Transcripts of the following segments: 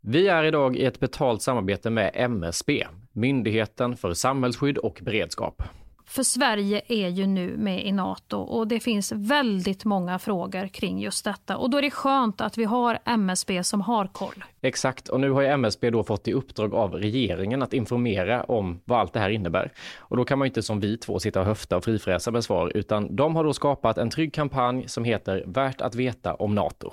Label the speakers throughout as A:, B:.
A: Vi är idag i ett betalt samarbete med MSB, Myndigheten för samhällsskydd och beredskap.
B: För Sverige är ju nu med i Nato och det finns väldigt många frågor kring just detta. Och då är det skönt att vi har MSB som har koll.
A: Exakt, och nu har ju MSB då fått i uppdrag av regeringen att informera om vad allt det här innebär. Och då kan man ju inte som vi två sitta och höfta och frifräsa med svar, utan de har då skapat en trygg kampanj som heter Värt att veta om Nato.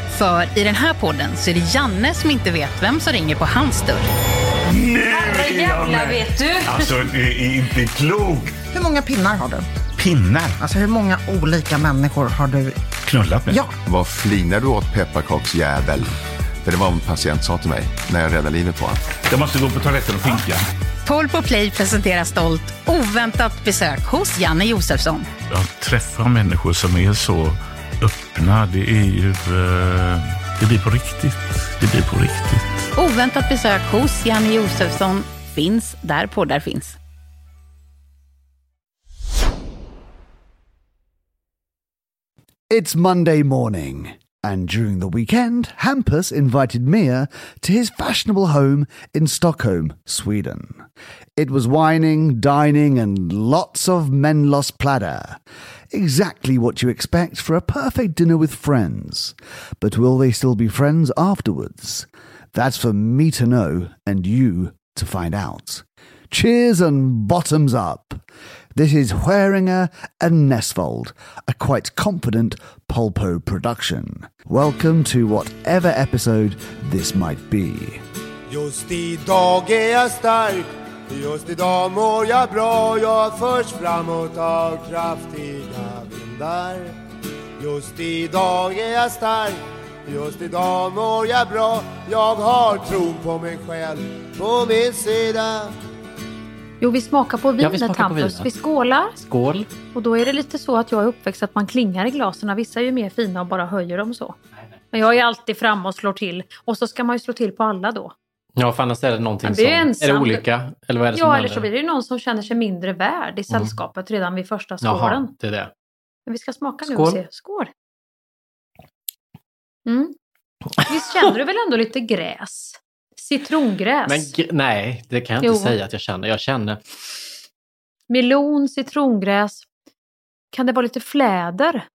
C: För i den här podden så är det Janne som inte vet vem som ringer på hans dörr.
D: Nu är jag med.
E: vet du.
D: Alltså, det är inte klokt.
F: Hur många pinnar har du?
D: Pinnar.
F: Alltså hur många olika människor har du?
D: Knullat med.
F: Ja,
G: Vad flinar du åt pepparkaksjävel? För det var vad en patient sa till mig när jag räddade livet på honom.
D: Jag måste gå på toaletten och finka.
C: Paul på Play presenterar stolt oväntat besök hos Janne Josefsson.
H: att träffa människor som är så öppna, det är ju... eh, Det blir på riktigt. Det blir på riktigt.
C: Oväntat besök hos Janne Josefsson finns där poddar finns.
I: It's Monday morning, and during the weekend, Hampus invited Mia to his fashionable home in Stockholm, Sweden. It was whining, dining, and lots of menlos platter. Exactly what you expect for a perfect dinner with friends. But will they still be friends afterwards? That's for me to know and you to find out. Cheers and bottoms up. This is Hueringer and Nesfold, a quite confident Polpo production. Welcome to whatever episode this might be.
J: Just idag är jag stark Just idag mår jag bra Jag förs framåt av kraftiga vindar Just idag är jag stark Just idag mår jag bra Jag har tron på mig själv På min sida
B: Jo, vi smakar på
A: vi
B: vinet
A: smakar på
B: Hampus.
A: vinet.
B: Vi skålar.
A: Skål.
B: Och då är det lite så att jag är uppväxt att man klingar i glasen. Vissa är ju mer fina och bara höjer dem så. Men jag är alltid framme och slår till. Och så ska man ju slå till på alla då.
A: Ja, för annars är det någonting
B: Men det är
A: som...
B: ensam.
A: Är det olika? Eller vad är det som
B: Ja, eller
A: händer? Mm.
B: så blir det ju någon som känner sig mindre värd i sällskapet redan vid första skålen.
A: Jaha, det är det.
B: Men vi ska smaka nu
A: Skål.
B: och se. Skål! Mm. Visst känner du väl ändå lite gräs? Citrongräs.
A: Men gr- nej, det kan jag
B: Jo.
A: inte säga att jag känner. Jag känner...
B: Melon, citrongräs. Kan det vara lite fläder?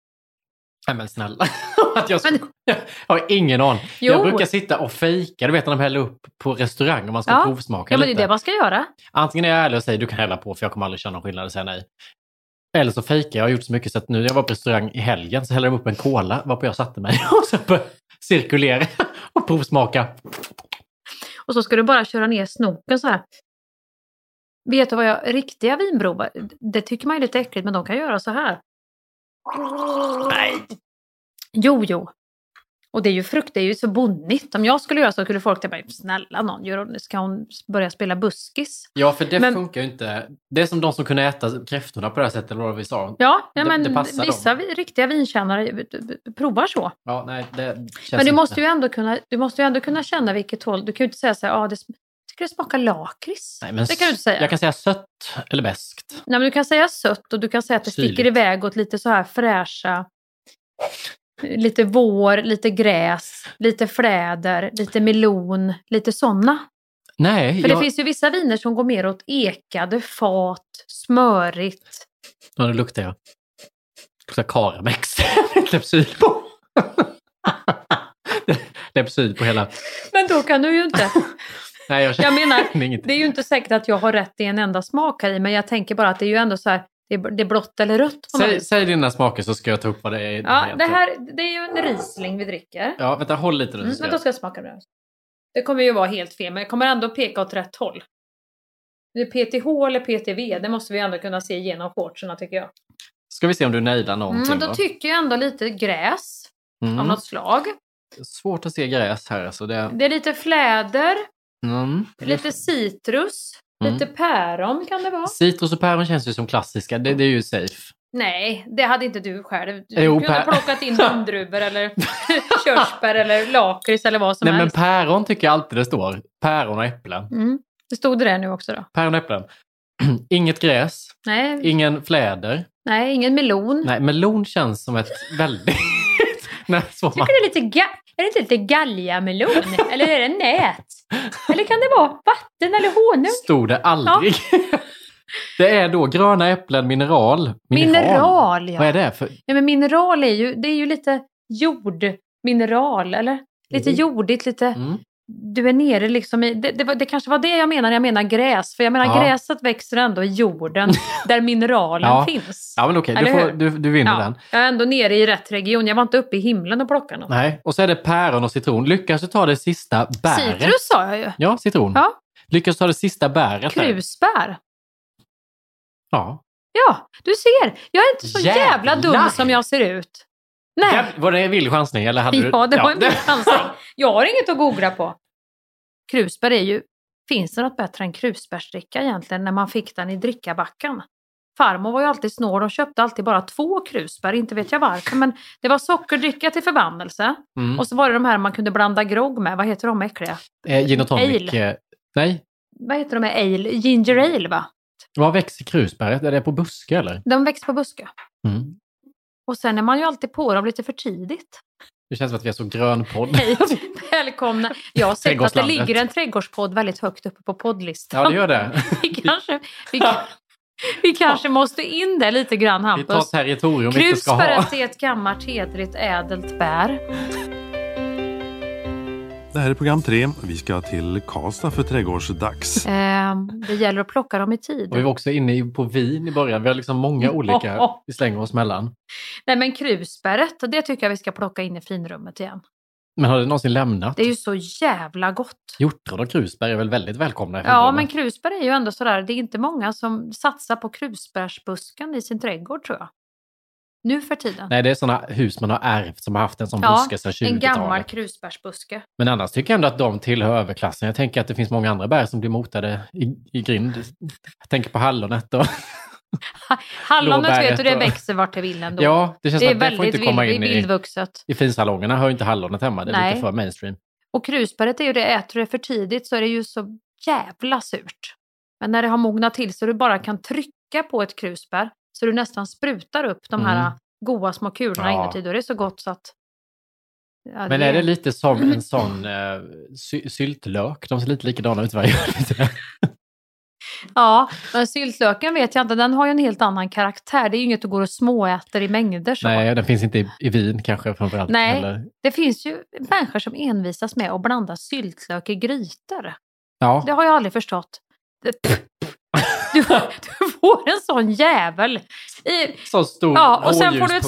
A: Nej men snälla. att jag,
B: Men-
A: jag har ingen aning. Jag
B: Jo.
A: brukar sitta och fejka. Du vet när de häller upp på restaurang och man ska
B: Ja.
A: provsmaka
B: Ja, men det är
A: lite.
B: det man ska göra.
A: Antingen är jag ärlig och säger du kan hälla på för jag kommer aldrig känna någon skillnad och säga nej. Eller så fejkar jag. Jag har gjort så mycket så att nu när jag var på restaurang i helgen så hällde de upp en cola varpå jag satte mig och så började cirkulera och provsmaka.
B: Och så ska du bara köra ner snoken så här. Vet du vad jag, riktiga vinprovar, det tycker man är lite äckligt, men de kan göra så här.
A: Nej!
B: Jo, jo. Och det är ju frukt, det är ju så bonnigt. Om jag skulle göra så skulle folk tänka, snälla någon, gör hon, ska hon börja spela buskis?
A: Ja, för det
B: Men-
A: funkar ju inte. Det är som de som kunde äta kräftorna på det här sättet, eller vad vi sa.
B: Ja, ja
A: Det-
B: men
A: det passar
B: vissa
A: dem.
B: vi- riktiga vinkännare b- b- provar så.
A: Ja, nej, det känns
B: men du
A: inte.
B: måste, ju ändå kunna, du måste ju ändå kunna känna vilket håll. Du kan ju inte säga så här, ah, det, sm- tycker det smakar lakrits.
A: Nej, men
B: Det kan du inte säga.
A: Jag kan säga sött eller beskt.
B: Nej, men du kan säga sött och du kan säga att det sticker
A: Syrligt.
B: iväg åt lite så här fräscha, lite vår, lite gräs, lite fläder, lite melon, lite sådana.
A: Nej,
B: För
A: jag...
B: det finns ju vissa viner som går mer åt ekade fat, smörigt.
A: Ja, nu luktar jag. Luktar Karamex. Lepsyl på. Lepsyl på hela...
B: Men då kan du ju inte.
A: Nej, jag
B: Jag
A: känner
B: menar,
A: inget.
B: Det är ju inte säkert att jag har rätt i en enda smak här i, men jag tänker bara att det är ju ändå så här, det är, det är blått eller rött på något
A: Säg,
B: vis.
A: säg dina smaker så ska jag ta upp vad det är.
B: Ja, det
A: egentligen.
B: här det är ju en Riesling vi dricker.
A: Ja, vänta, håll lite nu.
B: Mm,
A: så
B: men då
A: jag-
B: ska jag smaka på det. här. Det kommer ju vara helt fel, men jag kommer ändå peka åt rätt håll. Det är PTH eller PTV, det måste vi ändå kunna se genom shortsen tycker jag.
A: Ska vi se om du nailar någonting
B: Mm, men
A: då?
B: då tycker jag ändå lite gräs
A: Mm.
B: av något slag.
A: Svårt att se gräs här alltså. Det...
B: Det är lite fläder,
A: Mm.
B: lite citrus,
A: Mm.
B: lite päron kan det vara.
A: Citrus och päron känns ju som klassiska. Det, det är ju safe.
B: Nej, det hade inte du själv. Du
A: Jo,
B: kunde ha
A: pä-
B: plockat in humdruvor eller körsbär eller lakrits eller vad som
A: Nej men
B: helst.
A: päron tycker jag alltid det står. Päron och äpplen.
B: Mm. Det stod det där nu också då?
A: Päron och äpplen. Inget gräs.
B: Nej,
A: Ingen fläder.
B: nej ingen melon.
A: Nej, melon känns som ett väldigt... Nej, så
B: Tycker
A: man...
B: det är lite ga- är det inte lite galliamelon? eller är det nät? Eller kan det vara vatten eller honung?
A: Stod det aldrig. det är då gröna äpplen, mineral.
B: Mineral, ja.
A: Vad är det för...
B: Ja, men mineral är ju, det är ju lite jordmineral, eller? Lite
A: Mm.
B: jordigt, lite... Du är nere liksom i... Det, det, var- det kanske var det jag menar när jag menar gräs. För jag menar
A: Ja.
B: gräset växer ändå i jorden där mineralen
A: Ja.
B: finns.
A: Ja, men okej, du,
B: Eller
A: får-
B: hur?
A: du, du vinner
B: Ja,
A: den.
B: Jag är ändå nere i rätt region. Jag var inte uppe i himlen och plockade något.
A: Nej, och så är det päron och citron. Lyckas du ta det sista bäret?
B: Citrus sa jag ju.
A: Ja, citron.
B: Ja.
A: Lyckas du ta det sista bäret? där?
B: Krusbär.
A: Ja.
B: Ja, du ser. Jag är inte så jävla
A: Jävlar!
B: dum som jag ser ut. Nej.
A: Jäv- Var det en vild chansning? Eller hade du...
B: Ja, det var en bra chansning. Jag har inget att googla på. Krusbär är ju... Finns det något bättre än krusbärsdricka egentligen när man fick den i drickabacken? Farmor var ju alltid snål och köpte alltid bara två krusbär, inte vet jag varför. Men det var sockerdricka till förbannelse.
A: Mm.
B: Och så var det de här man kunde blanda grogg med. Vad heter de äckliga?
A: Eh, gin och tonic.
B: Ale.
A: eh, Nej,
B: Vad heter de med ale? Ginger ale va?
A: var växer krusbäret? Är det på buske eller?
B: De växer på buske.
A: Mm.
B: Och sen är man ju alltid på dem lite för tidigt.
A: Det känns som att vi är så grön podd.
B: Hej, välkomna. Jag har sett att det
A: Trädgårdslandet.
B: ligger en trädgårdspodd väldigt högt uppe på poddlistan.
A: Ja, det gör det.
B: Vi kanske, vi, kan- vi kanske måste in där lite grann,
A: Vi tar
B: Hampus.
A: territorium vi inte ska ha.
B: Krusbäret är ett gammalt hedrigt ädelt bär.
K: Det här är program tre. Vi ska till Karlstad för trädgårdsdags.
B: Ehm, det gäller att plocka dem i tid.
A: Och vi var också inne i- på vin i början. Vi har liksom många olika vi slänger oss mellan.
B: Nej men krusbäret, det tycker jag vi ska plocka in i finrummet igen.
A: Men har det någonsin lämnat?
B: Det är ju så jävla gott.
A: Hjortron och krusbär är väl väldigt välkomna? i
B: Ja,
A: finrummet?
B: men krusbär är ju ändå sådär, det är inte många som satsar på krusbärsbusken i sin trädgård tror jag. Nu för tiden.
A: Nej, det är sådana hus man har ärvt som har haft en sån buske sedan
B: en gammal
A: 20-talet.
B: krusbärsbuske.
A: Men annars tycker jag ändå att de tillhör överklassen. Jag tänker att det finns många andra bär som blir motade i, i grind. Jag tänker på hallonet och...
B: Hallonet
A: Blåbäret
B: vet du, det
A: och-
B: växer vart det vill ändå.
A: Ja, det känns
B: det är
A: som att det får
B: väldigt
A: inte komma
B: vild-
A: in i-
B: vildvuxet.
A: I finsalongerna hör ju inte hallonet hemma. Det är
B: Nej.
A: lite för mainstream.
B: Och krusbäret är ju det, äter du det för tidigt så är det ju så jävla surt. Men när det har mognat till så du bara kan trycka på ett krusbär så du nästan sprutar upp de här
A: Mm.
B: äh, goa små kulorna
A: Ja.
B: inuti. Då är det så gott så att... Ja,
A: Men är det lite som en sån eh, sy- syltlök? De ser lite likadana ut varje år.
B: Ja, men syltlöken vet jag inte. Den har ju en helt annan karaktär. Det är ju inget du går och småäter i mängder. Så.
A: Nej, den finns inte i, i vin kanske framförallt.
B: Nej,
A: Eller,
B: det finns ju människor som envisas med att blanda syltlök i grytor.
A: ja.
B: Det har jag aldrig förstått. Det- pff, pff. Du, du får en sån jävel. I,
A: Så stor
B: ja, och sen får du ett
A: rådjurspungkula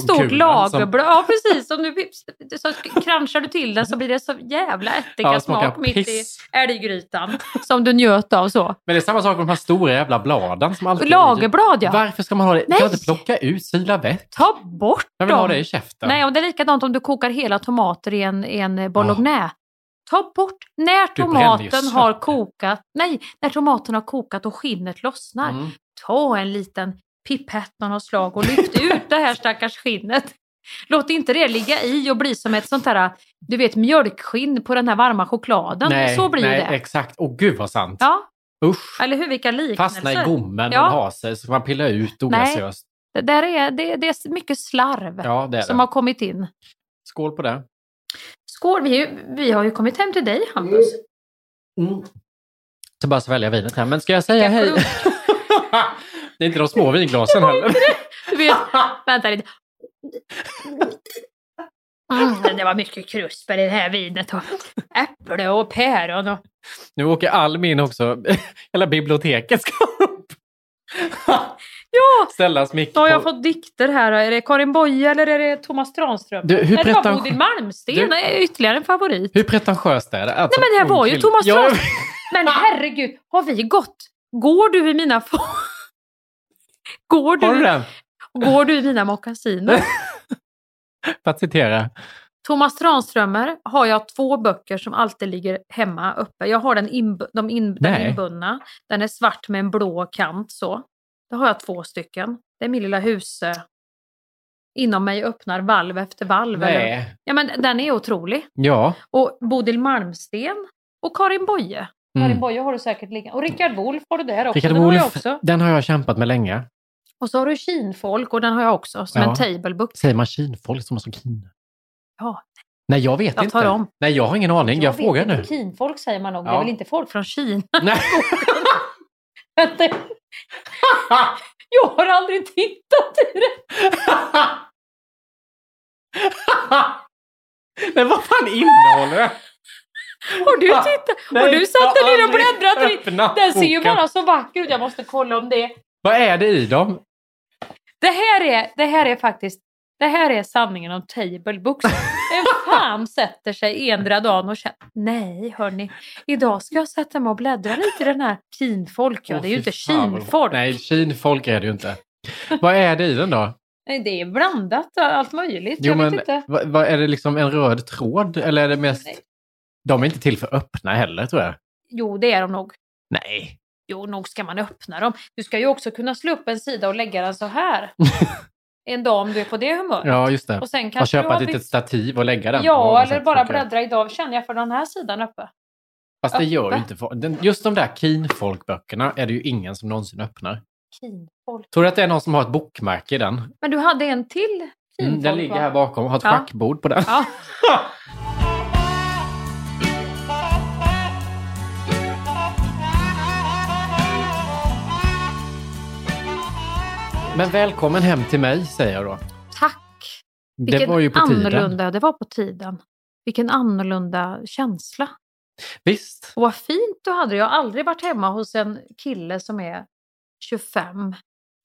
B: stort
A: som-
B: lagerblad. Ja, precis. Om du, så kranschar du till den så blir det så jävla ättika
A: Ja, smakar
B: smak mitt i
A: piss.
B: älggrytan. Som du njöt av så.
A: Men det är samma sak med de här stora jävla bladen som alltid...
B: Lagerblad, ja.
A: Varför ska man ha det? Kan
B: Nej.
A: jag inte plocka ut, sila väck?
B: Ta bort
A: Jag vill ha
B: dem.
A: det i käften.
B: Nej, och det är likadant om du kokar hela tomater i en, i en eh, bolognese. Ta bort när
A: Du bränner ju
B: tomaten
A: sönder.
B: har kokat. Nej, när tomaten har kokat och skinnet lossnar.
A: Mm.
B: Ta en liten pipett av något slag och lyft ut det här stackars skinnet. Låt inte det ligga i och bli som ett sånt här, du vet mjölkskinn på den här varma chokladen.
A: nej,
B: Så blir
A: nej,
B: det.
A: exakt. Åh gud vad sant.
B: Ja,
A: Usch.
B: eller hur? Vilka liknelser.
A: Fastna i gommen
B: Ja.
A: och ha sig så kan man pilla ut ograciöst.
B: Det, där är, det, det är mycket slarv
A: Ja, det är
B: som
A: det.
B: har kommit in.
A: Skål på det.
B: Skål, vi, är ju- vi har ju kommit hem till dig Hampus.
A: Så bara svälja vinet här. Men ska jag säga hej? det är inte de små vinglasen heller.
B: Du vet, vänta lite. Mm, det var mycket krusbär i det här vinet och äpple och päron och...
A: Nu åker all min också. Hela biblioteket ska upp.
B: Ja!
A: Ställas mick
B: Då har jag
A: på-
B: fått dikter här. Är det Karin Boye eller är det Thomas Tranström?
A: Du, hur
B: Nej, det var
A: pretention-
B: Bodil Malmsten,
A: Du-
B: det är ytterligare en favorit.
A: Hur pretentiöst är det? Att som
B: Nej men det här
A: ung
B: var ju
A: kille-
B: Thomas
A: Ja, jag
B: Tranström. Men herregud, har vi gått? Går du i mina... fo-
A: Har
B: Går
A: du
B: du,
A: den?
B: går du i mina mockasiner?
A: För att citera
B: Thomas Tranströmer har jag två böcker som alltid ligger hemma uppe. Jag har den, inb de in den
L: Nej.
B: inbundna. Den är svart med en blå kant så. Då har jag två stycken. Det är min lilla hus... eh, Inom mig öppnar valv efter valv.
A: Nej.
B: eller- Ja, men den är otrolig.
A: Ja,
B: Och Bodil Malmsten och Karin Boye. Karin
A: Mm.
B: Boye har du säkert liggande. Och Rickard Wolff har du där också.
A: Rickard
B: den har jag
A: Wolff,
B: också.
A: den har jag kämpat med länge.
B: Och så har du Kinfolk och den har jag också som
A: Ja.
B: en tablebook.
A: Säger man kinfolk som man som kin?
B: Ja,
A: Nej, jag vet
B: Jag
A: inte.
B: tar om.
A: Nej, jag har ingen aning. Jag,
B: vet
A: frågar
B: inte.
A: nu.
B: Kinfolk säger man nog. Det är
A: Ja.
B: väl inte folk från Kina?
A: Nej.
B: Vänta. jag har aldrig tittat i det.
A: Men vad fan innehåller det?
B: Och du tittar. Och
A: Nej,
B: du
A: jag
B: satte
A: har
B: ner och
A: aldrig
B: bläddrade i.
A: öppnat
B: Den ser ju
A: boken.
B: bara så vacker ut. Jag måste kolla om det.
A: Vad är det i dem?
B: Det här är, det här är faktiskt det här är sanningen om table books. En fan sätter sig endera dagen och känner nej hörni, idag ska jag sätta mig och bläddra lite i den här kinfolk. Ja,
A: Åh,
B: det är ju
A: fy
B: inte
A: fan vad-
B: kinfolk.
A: Nej, kinfolk är det ju inte. Vad är det i den då?
B: Nej, det är blandat och allt möjligt.
A: Jo,
B: jag vet
A: men
B: inte.
A: vad, vad, är det liksom en röd tråd eller är det mest... De är inte till för öppna heller tror jag.
B: Jo, det är de nog.
A: Nej.
B: Jo, nog ska man öppna dem. Du ska ju också kunna slå upp en sida och lägga den så här. en dag om du är på det humöret.
A: Ja, just det.
B: Och sen
A: och
B: kanske du
A: köpa
B: har
A: ett litet
B: bytt-
A: stativ och lägga den. på
B: Ja,
A: något
B: eller
A: sätt,
B: bara
A: tänker jag.
B: bläddra idag känner jag för den här sidan uppe.
A: Fast det gör
B: öppna.
A: ju inte folk. Den- Just de där kinfolkböckerna är det ju ingen som någonsin öppnar.
B: Kinfolk.
A: Tror du att det är någon som har ett bokmärke i den?
B: Men du hade en till kinfolk
A: Mm, den ligger
B: va?
A: här bakom och har ett
B: Ja.
A: schackbord på den.
B: Ja.
A: Men välkommen hem till mig säger jag då.
B: Tack!
A: Det var ju på
B: annorlunda,
A: tiden.
B: Det var på tiden. Vilken annorlunda känsla.
A: Visst.
B: Och vad fint du hade det. Jag har aldrig varit hemma hos en kille som är 25,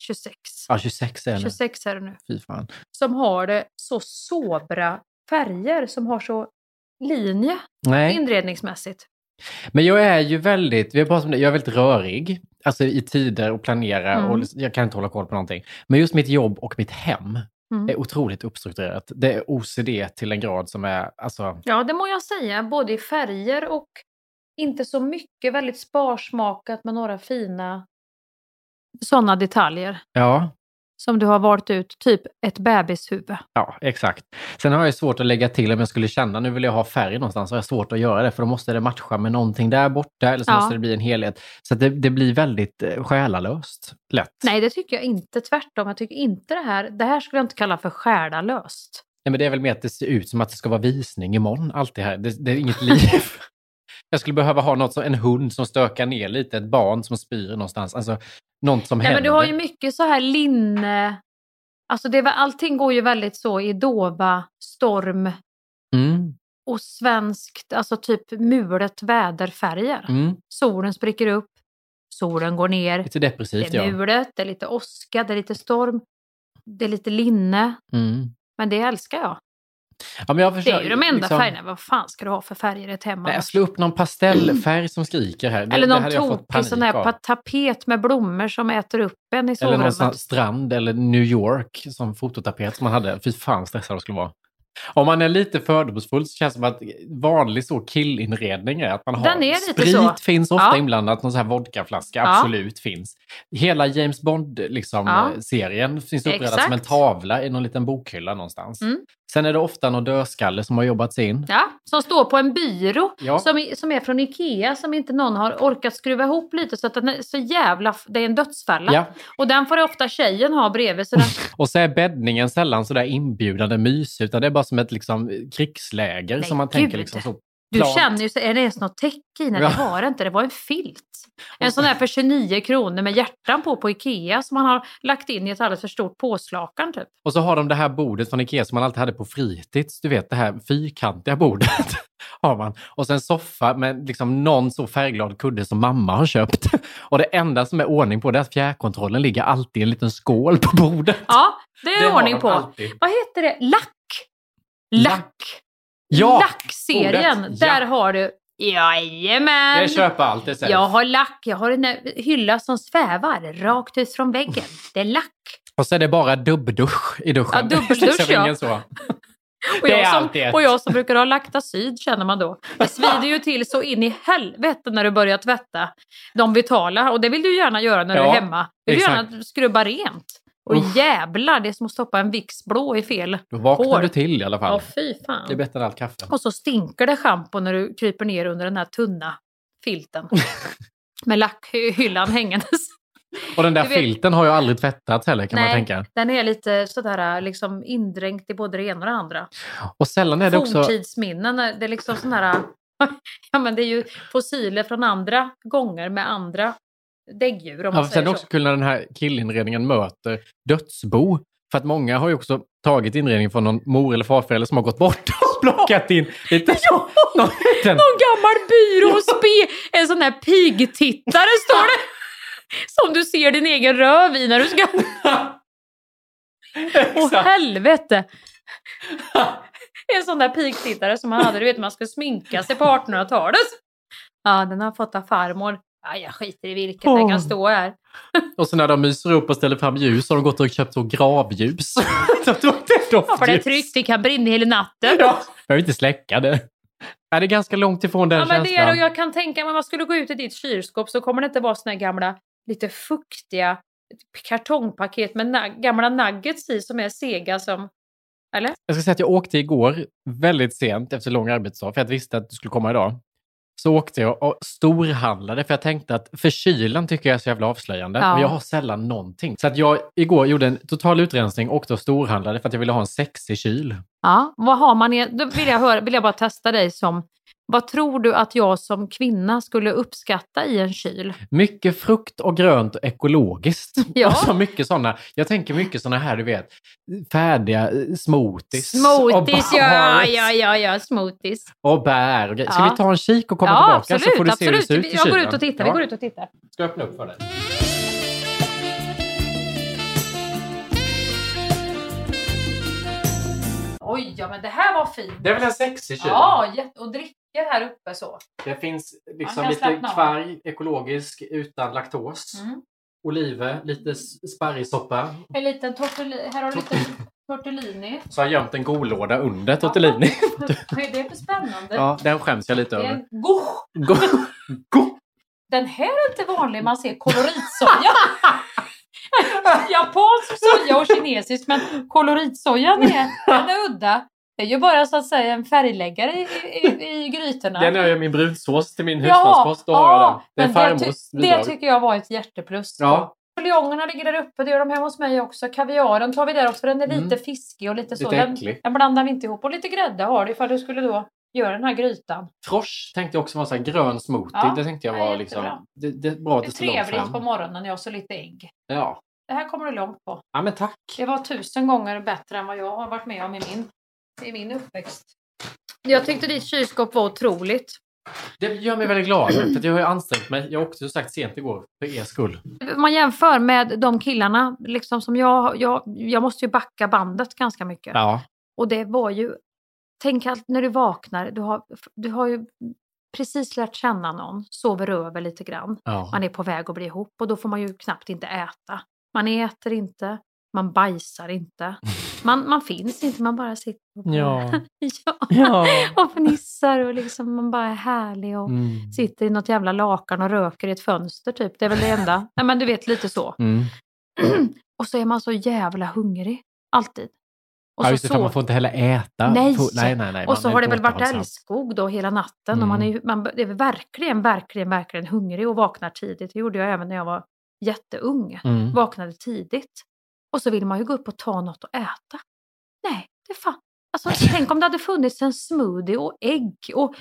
B: 26.
A: Ja, 26 är det nu.
B: 26 är det nu.
A: Fy fan.
B: Som har det så sobra färger, som har så linje
A: Nej.
B: inredningsmässigt.
A: Men jag är ju väldigt, vi har pratat om det, jag är väldigt rörig. Alltså i tider och planera
B: Mm.
A: och liksom- jag kan inte hålla koll på någonting. Men just mitt jobb och mitt hem
B: Mm.
A: är otroligt uppstrukturerat. Det är OCD till en grad som är, alltså,
B: Ja, det må jag säga. Både i färger och inte så mycket. Väldigt sparsmakat med några fina sådana detaljer.
A: ja,
B: Som du har valt ut, typ ett bebishuvud.
A: ja, exakt. Sen har jag ju svårt att lägga till om jag skulle känna, nu vill jag ha färg någonstans, så har jag svårt att göra det, för då måste det matcha med någonting där borta, eller så
B: Ja.
A: måste det bli en helhet. Så att det, det blir väldigt eh, själalöst, lätt.
B: Nej, det tycker jag inte. Tvärtom. Jag tycker inte det här. Det här skulle jag inte kalla för själalöst.
A: Nej, men det är väl mer att det ser ut som att det ska vara visning imorgon, allt det här. Det, det är inget liv. Jag skulle behöva ha något som en hund som stökar ner lite, ett barn som spyr någonstans. Alltså, något som
B: Nej,
A: händer.
B: men du har ju mycket så här linne... Alltså det, är väl- allting går ju väldigt så i dova, storm
A: Mm,
B: och svenskt, alltså typ mulet väderfärger.
A: mm.
B: Solen spricker upp, solen går ner.
A: Lite depressivt,
B: Det
A: ja.
B: är mulet, det är lite åska, det är lite storm, det är lite linne.
A: Mm.
B: Men det älskar jag.
A: ja men jag
B: Det
A: försöker,
B: är ju de enda
A: liksom-
B: färgerna. Vad fan ska du ha för färger i ett hem?
A: Nej,
B: annars?
A: slå upp någon pastellfärg som skriker här. Det,
B: Eller
A: det
B: någon
A: hade jag fått
B: tokig
A: panik
B: sån här
A: av.
B: pa- tapet med blommor som äter upp en i
A: Eller någon
B: sovrummet.
A: sån här strand eller New York som fototapet som man hade. Fy fan vad stressad de skulle vara. Om man är lite fördomsfull så känns det som att vanlig så killinredning är att man har
B: Den är lite
A: sprit
B: så.
A: finns ofta
B: Ja.
A: inblandat, någon sån här vodkaflaska
B: Ja.
A: absolut finns. Hela James Bond-serien liksom,
B: Ja.
A: eh, serien finns uppradad
B: Exakt.
A: som en tavla i någon liten bokhylla någonstans.
B: Mm.
A: Sen är det ofta någon dödskalle som har jobbats in.
B: Ja, som står på en byrå
A: Ja.
B: som, i- som är från Ikea som inte någon har orkat skruva ihop lite så att den är så jävla... f- Det är en dödsfälla.
A: Ja.
B: Och den får ofta tjejen ha bredvid. Så den,
A: Och så är bäddningen sällan så där inbjudande mys, utan det är bara som ett liksom, krigsläger som man tänker
B: gud.
A: liksom så.
B: du
A: plant.
B: känner ju, så, är det ens något täcke i? Nej, det
A: Ja.
B: var det inte. Det var en filt. En sån här för 29 kronor med hjärtan på på Ikea som man har lagt in i ett alldeles för stort påslakan typ.
A: Och så har de det här bordet från Ikea som man alltid hade på fritids. Du vet det här fyrkantiga bordet. har man. Och sen soffa med liksom någon så färgglad kudde som mamma har köpt. Och det enda som är ordning på det är att fjärrkontrollen ligger alltid i en liten skål på bordet.
B: Ja, det är
A: Det har
B: ordning
A: de
B: på.
A: alltid.
B: Vad heter det? Lack! Lack!
A: Ja,
B: Lackserien!
A: ordet.
B: Där har du... Jajamän!
A: Jag köper allt det sägs.
B: Jag har lack, jag har en eh, hylla som svävar rakt ut från väggen. Det är lack.
A: Och så är det bara dubbdusch i duschen.
B: Ja, dubbdusch,
A: Det finns
B: ja.
A: ingen så.
B: Och
A: Det är
B: jag,
A: alltid
B: som,
A: ett.
B: och jag som brukar ha laktacid känner man då. Det svider ju till så in i helvete när du börjar tvätta de vitala. Och det vill du gärna göra när du
A: Ja,
B: är hemma. Du vill
A: exakt.
B: gärna skrubba rent. Och
A: Uff.
B: jävlar, det är som att stoppa en Vicks blå i fel
A: Då vaknar
B: hår.
A: du till i alla fall.
B: Ja, fy fan.
A: Det är bättre än allt kaffe.
B: Och så stinker det schampo när du kryper ner under den här tunna filten. Med lackhyllan hängandes.
A: Och den där
B: Du vet-
A: filten har ju aldrig tvättats heller kan man tänka.
B: den är lite sådär liksom indränkt i både det ena och det andra.
A: Och sällan är det också...
B: Forntidsminnen, det är liksom sån här... Ja, men det är ju fossiler från andra gånger med andra däggdjur om man
A: Ja, sen är
B: säger
A: det
B: så.
A: också kul när den här killinredningen möter dödsbo. För att många har ju också tagit inredningen från någon mor eller farförälder som har gått bort och plockat in lite så. Någon liten...
B: Någon gammal byrå och spe, en sån här pigtittare står det. Som du ser din egen röv i när du ska... Åh helvete! En sån där pigtittare som man hade, du vet man skulle sminka sig på 1800-talet. Ja, den har jag fått av farmor. Ja, jag skiter i vilket, den
A: Åh.
B: kan stå här.
A: Och så när de myser upp och ställer fram ljus har de gått och köpt så gravljus. De tog det
B: Ja, för det är
A: doftljus.
B: tryggt, det kan brinna hela natten.
A: Jag vill inte släcka det. Nej, det är ganska långt ifrån den
B: Ja, men det är det.
A: känslan.
B: Och jag kan tänka mig om man skulle gå ut i ditt kylskåp så kommer det inte vara såna här gamla, lite fuktiga kartongpaket med na- gamla nuggets i som är sega som... Eller?
A: Jag ska säga att jag åkte igår väldigt sent efter lång arbetsdag för jag visste att du skulle komma idag. Så åkte jag och storhandlade för jag tänkte att förkylan tycker jag är så jävla avslöjande.
L: Ja.
A: Men jag har sällan någonting. Så att jag igår gjorde en total utrensning och åkte och storhandlade för att jag ville ha en sexig kyl.
B: Ja, vad har man i... Då vill jag, höra, vill jag bara testa dig som... Vad tror du att jag som kvinna skulle uppskatta i en kyl?
A: Mycket frukt och grönt och ekologiskt.
B: Ja.
A: Alltså mycket sådana. Jag tänker mycket sådana här, du vet, färdiga eh, smoothies.
B: Smoothies,
A: och
B: ja,
A: bars
B: ja, ja, ja, smoothies.
A: Och bär och grejer. Ska
B: Ja.
A: vi ta en kik och komma
B: ja,
A: tillbaka
B: absolut,
A: så får du se hur
B: absolut.
A: det ser ut i
B: Jag går
A: kylen?
B: ut och tittar, vi
A: Ja.
B: går ut och tittar.
A: Ska jag öppna upp för dig?
B: Oj, ja men det här var fint.
A: Det är väl en sexig kyl?
B: Ja, jätte- och dricker här uppe så.
A: Det finns
B: Man
A: liksom
B: kan
A: lite
B: slappna av.
A: kvarg, ekologisk, utan laktos.
B: Mm.
A: Oliver, lite s- sparrisoppa.
B: En liten tortellini. Här har du lite tortellini.
A: Så har jag gömt en golåda under tortellini.
B: Vad är det för spännande?
A: ja, den skäms jag lite
B: det är
A: över.
B: en gosh!
A: Go-
B: Den här är inte vanlig man ser koloritsoja. Japansk soja och kinesisk, men koloritsojan är, den är udda. Det är ju bara så att säga en färgläggare i, i, i, i grytorna.
A: Den har jag i min brunsås till min
B: Ja,
A: husmanskost. Då har jag den.
B: men
A: Det är
B: det,
A: farmors
B: ty- det
A: bidrag.
B: tycker jag var ett hjärteplus.
A: Ja,
B: Buljongerna ligger där uppe, det gör de hemma hos mig också. Kaviaren tar vi där också, för den är lite
A: Mm.
B: fiskig och lite så.
A: Lite
B: den,
A: äcklig.
B: den blandar vi inte ihop. Och lite grädde har du ifall du skulle då göra den här grytan.
A: frosch tänkte jag också vara så här grön smoothie.
B: Ja,
A: det tänkte jag
B: det
A: var
B: är jättebra.
A: liksom... Det, det är bra att
B: Det
A: det
B: är
A: står långt
B: trevligt på
A: fram.
B: morgonen, jag så lite ägg.
A: Ja.
B: Det här kommer du långt på.
A: ja, men tack.
B: Det var tusen gånger bättre än vad jag har varit med om i min, i min uppväxt. Jag tyckte ditt kylskåp var otroligt.
A: Det gör mig väldigt glad. För att jag har ju ansträngt mig. Jag åkte som sagt sent igår för er skull.
B: Man jämför med de killarna, liksom som jag, jag, jag måste ju backa bandet ganska mycket.
A: Ja.
B: Och det var ju, tänk att när du vaknar, du har, du har ju precis lärt känna någon, sover över lite grann.
A: Ja.
B: Man är på väg att bli ihop och då får man ju knappt inte äta. Man äter inte, man bajsar inte, man, man finns inte, man bara sitter och,
A: Ja.
B: ja.
A: Ja.
B: och fnissar och liksom man bara är härlig och
A: Mm.
B: sitter i något jävla lakan och röker i ett fönster typ. Det är väl det enda. Nej men du vet lite så.
A: Mm.
B: Och så är man så jävla hungrig, alltid. Och
A: ja,
B: så
A: just det, för
B: sov-
A: man får inte heller äta.
B: Nej.
A: Får- nej, nej, nej.
B: och så
A: man är
B: har det väl
A: inte Mm.
B: varit
A: återhållsam.
B: älskog då hela natten. Och man är, ju- man det är väl verkligen, verkligen, verkligen hungrig och vaknar tidigt. Det gjorde jag även när jag var jätteung.
A: Mm.
B: Vaknade tidigt. Och så vill man ju gå upp och ta något att äta. Nej, det fan. Alltså, tänk om det hade funnits en smoothie och ägg och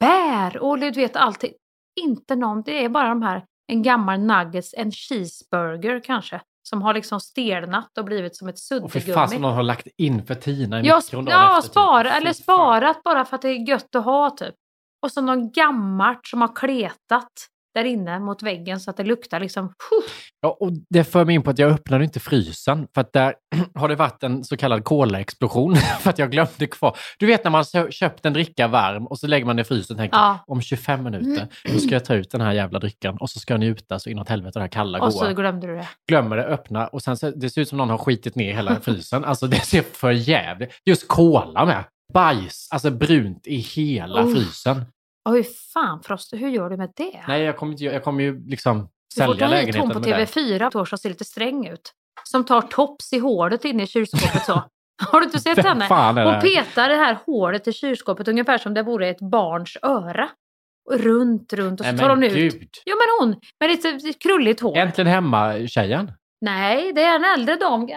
B: bär och du vet allting. Inte någon, det är bara de här, en gammal nuggets, en cheeseburger kanske. Som har liksom stelnat och blivit som ett
A: Och för
B: suddgummi.
A: fan som någon har lagt in för Tina i
B: Ja,
A: mikron dagen
B: ja
A: efter, typ.
B: spara, eller sparat bara för att det är gött att ha typ. Och så någon gammalt som har kletat. där inne mot väggen så att det luktar liksom... Puh.
A: Ja, och det för mig in på att jag öppnade inte frysen, för att där har det varit en så kallad kolaexplosion, för att jag glömde kvar. Du vet när man har köpt en dricka varm och så lägger man den i frysen och tänker
B: Ja.
A: om 25 minuter, då ska jag ta ut den här jävla drycken och så ska jag njuta så inåt helvete det här kalla
B: Och så
A: goa.
B: glömde du det.
A: Glömmer det, öppna och sen så, det ser ut som någon har skitit ner hela frysen. Alltså det ser för jävligt. Just kola med. Bajs, alltså brunt i hela
B: Oh.
A: frysen.
B: Ja, hur fan Froster, hur gör du med det?
A: Nej, jag kommer, inte, jag kommer ju liksom
B: Du får
A: sälja
B: ta hit
A: lägenheten
B: hon på
A: med det.
B: TV4 på år som ser lite sträng ut. Som tar tops i håret inne i kylskåpet så. Har du inte sett
A: Vem
B: henne?
A: fan är det
B: hon
A: här?
B: petar det här håret i kylskåpet ungefär som det vore ett barns öra. Och Runt, runt och så
A: Nej,
B: tar
A: men
B: hon ut.
A: gud.
B: Jo men hon med lite krulligt hår.
A: Äntligen hemma-tjejen.
B: Nej, det är en äldre dam.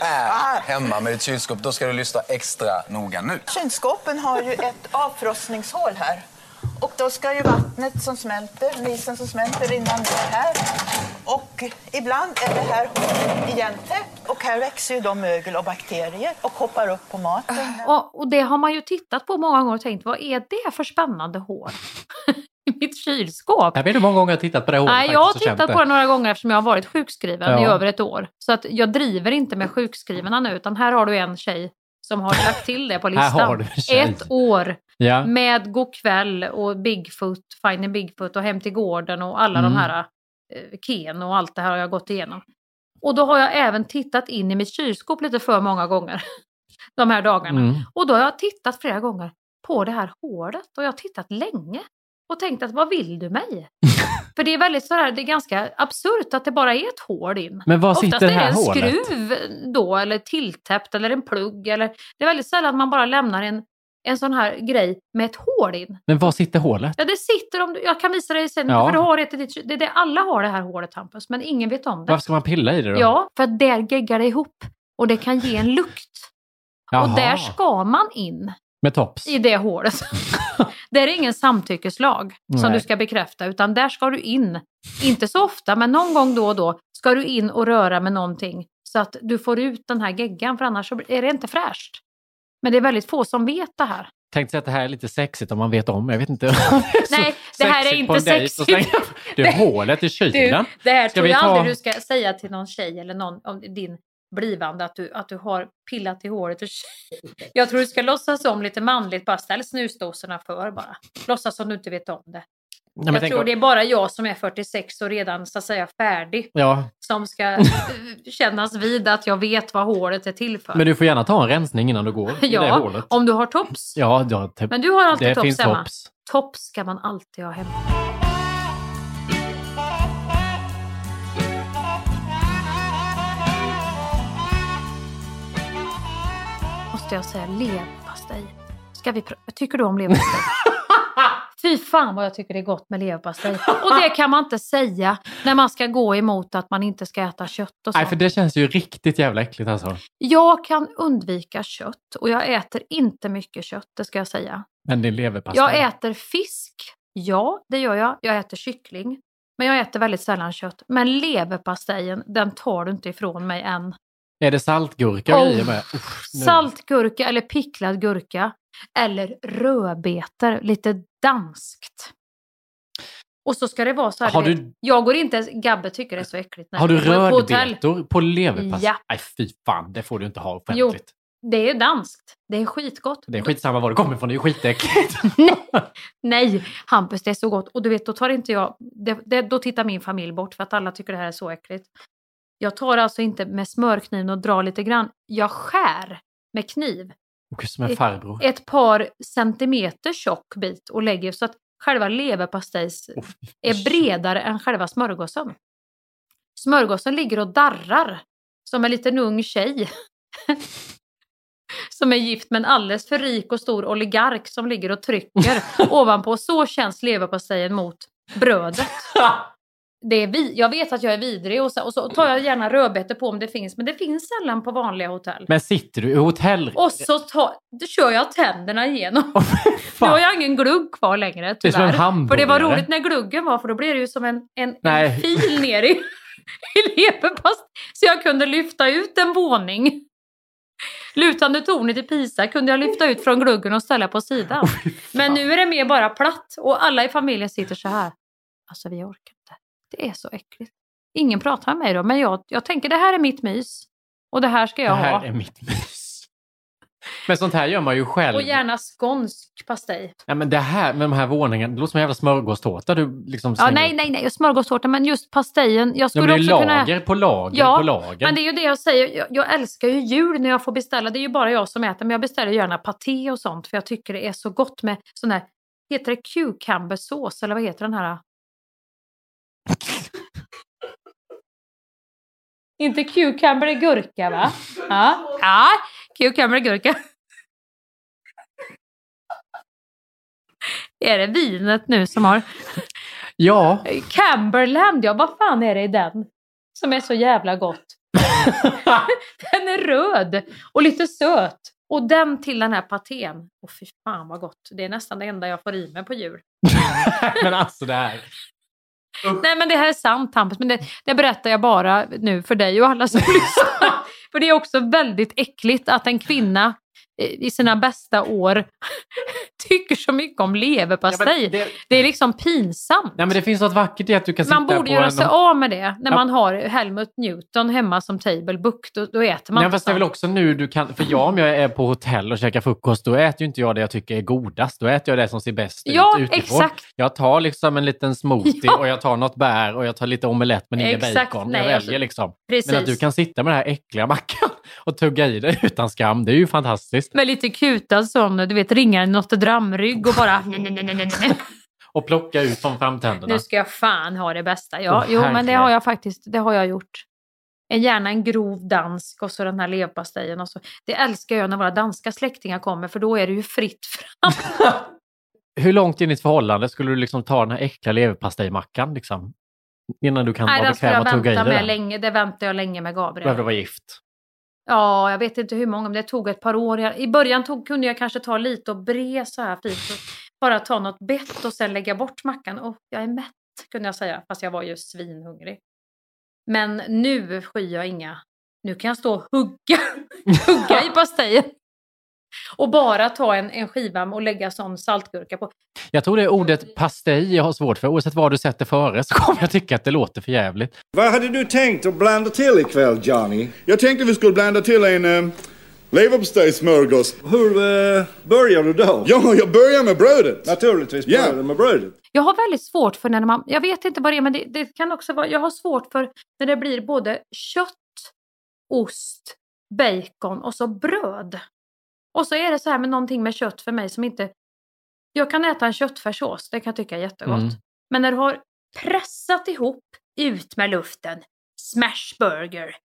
L: Här hemma med ditt kylskåp, då ska du lyssna extra noga nu.
F: Kylskåpen har ju ett avfrostningshål här. Och då ska ju vattnet som smälter, isen som smälter innan det här. Och ibland är det här hålet igentäppt och här växer ju då mögel och bakterier och hoppar upp på maten.
B: Och, och det har man ju tittat på många gånger och tänkt, vad är det för spännande hår? I mitt kylskåp.
A: Jag vet inte hur många gånger jag har tittat på det hålet
B: Nej, jag har
A: faktiskt och
B: tittat
A: känt
B: på det några gånger eftersom jag har varit sjukskriven i
A: Ja.
B: över ett år. Så att jag driver inte med sjukskrivna nu, utan här har du en tjej som har lagt till det på
A: Här
B: listan.
A: har du en tjej.
B: ett år
A: Ja.
B: med Go'kväll och Bigfoot, Finding Bigfoot och Hem till gården och alla de
A: Mm.
B: här eh, Ken och allt det här har jag gått igenom. Och då har jag även tittat in i mitt kylskåp lite för många gånger de här dagarna.
M: Mm.
B: Och då har jag tittat flera gånger på det här hålet och jag har tittat länge och tänkt att vad vill du mig? För det är väldigt sådär, det är ganska absurt att det bara är ett hål in.
A: Men var sitter
B: Oftast
A: det här
B: är det en
A: hålet?
B: skruv då, eller tilltäppt, eller en plugg. Eller, det är väldigt sällan man bara lämnar en, en sån här grej med ett hål in.
A: Men var sitter hålet?
B: Ja, det sitter om du, jag kan visa dig sen,
A: Ja.
B: för du har ett, i ditt- det, är det, alla har det här hålet Hampus, men ingen vet om det.
A: Varför ska man pilla i det då?
B: Ja, för att där geggar det ihop och det kan ge en lukt.
A: Jaha,
B: Och där ska man in
A: Med tops.
B: i det hålet. det är ingen samtyckeslag som
A: Nej.
B: du ska bekräfta, utan där ska du in. Inte så ofta, men någon gång då och då ska du in och röra med någonting så att du får ut den här geggan, för annars så är det inte fräscht. Men det är väldigt få som vet det här.
A: Tänkte säga att det här är lite sexigt om man vet om. Jag vet inte.
B: Nej, det här är
A: Sexigt på
B: inte
A: en dejt och slänga-
B: sexigt.
A: Du,
B: Det-
A: hålet i kylen.
B: Du, det här
A: Ska
B: tror
A: vi
B: jag
A: ta-
B: aldrig du ska säga till någon tjej eller någon om din blivande att du, att du har pillat i håret. Och jag tror du ska låtsas om lite manligt, bara ställ snusdosorna för bara. Låtsas som du inte vet om det.
A: men
B: jag
A: tänk
B: tror
A: om-
B: det är bara jag som är 46 och redan så att säga färdig
A: Ja.
B: som ska eh, kännas vid att jag vet vad håret är till för.
A: Men du får gärna ta en rensning innan du går i det
B: ja,
A: hålet.
B: om du har tops.
A: Ja, du har typ-
B: Men du har alltid
A: det
B: tops
A: finns
B: hemma.
A: tops.
B: Tops ska man alltid ha hemma. Måste jag säga leverpastej? Ska vi pr- tycker du om leverpastej? Fy fan vad jag tycker det är gott med leverpastej. Och det kan man inte säga när man ska gå emot att man inte ska äta kött och
A: Nej,
B: sånt.
A: för det känns ju riktigt jävla äckligt alltså.
B: Jag kan undvika kött och jag äter inte mycket kött, det ska jag säga.
A: Men din leverpastej.
B: Jag äter fisk, ja det gör jag. Jag äter kyckling. Men jag äter väldigt sällan kött. Men leverpastejen, den tar du inte ifrån mig än.
A: Är det saltgurka
B: Oh.
A: i med? Uff, nu.
B: Saltgurka eller picklad gurka. Eller rödbetor, lite danskt. Och så ska det vara så här,
A: Har
B: du...
A: du-
B: vet, jag går inte ens, Gabbe tycker det är så äckligt. när
A: Har du
B: vi går på hotell.
A: rödbetor på leverpastej?
B: Ja.
A: Nej, fy fan. Det får du inte ha
B: Jo,
A: offentligt.
B: det är danskt. Det är skitgott.
A: Det är skitsamma var det kommer ifrån. Det är ju skitäckligt.
B: Nej, Hampus, det är så gott. Och du vet, då tar inte jag... Det, det, då tittar min familj bort för att alla tycker det här är så äckligt. Jag tar alltså inte med smörkniven och drar lite grann. Jag skär med kniv.
A: Gud, som en farbror.
B: Ett par centimeter tjock bit och lägger så att själva leverpastejs är bredare än själva smörgåsen. Smörgåsen ligger och darrar som en liten ung tjej. som är gift med en alldeles för rik och stor oligark som ligger och trycker ovanpå. Så känns leverpastejen mot brödet. Det är vi, jag vet att jag är vidrig och så, och så tar jag gärna rödbetor på om det finns, men det finns sällan på vanliga hotell.
A: Men sitter du i hotell?
B: Och så tar, då kör jag tänderna igenom. nu har jag ingen glugg kvar längre
A: Det är som en
B: tyvärr. För det var
A: hamburgare.
B: roligt när gluggen var för då blev det ju som en, en, en
A: Nej.
B: fil ner i, i leverpast. Så jag kunde lyfta ut en våning. Lutande tornet i Pisa kunde jag lyfta ut från gluggen och ställa på sidan. Men nu är det mer bara platt och alla i familjen sitter så här. Alltså vi orkar inte. Det är så äckligt. Ingen pratar med mig då, men jag, jag tänker det här är mitt mys. Och det här ska jag
A: det här
B: ha.
A: är mitt mys. Men sånt här gör man ju själv.
B: Och gärna skånsk pastej.
A: Ja, men det här med de här våningarna, det låter som en jävla smörgåstårta du liksom
B: Ja,
A: slänger
B: nej, nej, nej. Smörgåstårta, men just pastejen. Jag
A: Ja,
B: skulle
A: men det är ju
B: också kunna...
A: lager på lager
B: ja,
A: på lager.
B: men det är ju det jag säger. Jag, jag älskar ju jul när jag får beställa. Det är ju bara jag som äter, men jag beställer gärna paté och sånt för jag tycker det är så gott med sån här... Heter det cucumbersås eller vad heter den här? Inte cucumber är gurka va? Ja, ja cucumber är gurka. Är det vinet nu som har...
A: Ja.
B: Camberland, ja vad fan är det i den? Som är så jävla gott. den är röd och lite söt. Och den till den här patén. Åh fy fan vad gott. Det är nästan det enda jag får i mig på jul.
A: men alltså det här.
B: Nej men det här är sant Hampus, men det, det berättar jag bara nu för dig och alla som lyssnar. för det är också väldigt äckligt att en kvinna eh, i sina bästa år tycker så mycket om leverpastej. det... är liksom pinsamt.
A: Nej, men det finns något vackert i att du kan
B: Man
A: sitta
B: borde
A: på
B: göra
A: en...
B: sig av med det när
A: Ja.
B: man har Helmut Newton hemma som table book. Då, då äter man
A: Nej,
B: inte
A: fast det är väl
B: sånt.
A: också nu du kan... För jag, om jag är på hotell och käkar frukost, då äter ju inte jag det jag tycker är godast. Då äter jag det som ser bäst
B: Ja,
A: ut utifrån.
B: exakt.
A: Jag tar liksom en liten smoothie
B: Ja.
A: och jag tar något bär och jag tar lite omelett med ingen
B: Exakt,
A: bacon.
B: nej,
A: jag väljer
B: alltså,
A: liksom.
B: precis.
A: Men att du kan sitta med den här äckliga mackan och tugga i dig utan skam, det är ju fantastiskt.
B: Med lite kutad sån, du vet, ringaren i Notre Dame-rygg och bara...
A: Och plocka ut från framtänderna.
B: Nu ska jag fan ha det bästa. Ja,
A: Åh,
B: jo, men det
A: herregud.
B: har jag faktiskt det har jag gjort. En gärna en grov dansk och så den här leverpastejen. och så. Det älskar jag när våra danska släktingar kommer för då är det ju fritt fram.
A: Hur långt in i ditt förhållande skulle du liksom ta den här äckliga leverpastejmackan? Liksom, innan du kan
B: Nej,
A: vara
B: den ska
A: bekväm
B: jag
A: och tugga i
B: vänta
A: dig
B: med
A: den?
B: länge. Det väntar jag länge med
A: Du
B: Gabriel.
A: behöver vara gift.
B: Ja, jag vet inte hur många, men det tog ett par år. Jag- I början tog, kunde jag kanske ta lite och bre så här fint. Och bara ta något bett och sen lägga bort mackan. Och jag är mätt, kunde jag säga. Fast jag var ju svinhungrig. Men nu skyr jag inga. Nu kan jag stå och hugga, hugga i pastejen. Och bara ta en, en skiva och lägga sån saltgurka på.
A: Jag tror det är ordet pastej jag har svårt för. Oavsett vad du sätter före så kommer jag tycka att det låter för jävligt.
N: Vad hade du tänkt att blanda till ikväll, Johnny?
I: Jag tänkte vi skulle blanda till en eh, leverpastejsmörgås. Hur eh, börjar du då? Ja, jag börjar med brödet. Naturligtvis
B: börjar
I: du med brödet.
B: Jag har väldigt svårt för när man, jag vet inte vad det är, men det, det kan också vara, jag har svårt för när det blir både kött, ost, bacon och så bröd. Och så är det så här med någonting med kött för mig som inte, jag kan äta en köttfärssås, det kan jag tycka är jättegott.
A: Mm.
B: Men när du har pressat ihop, ut med luften, smashburger,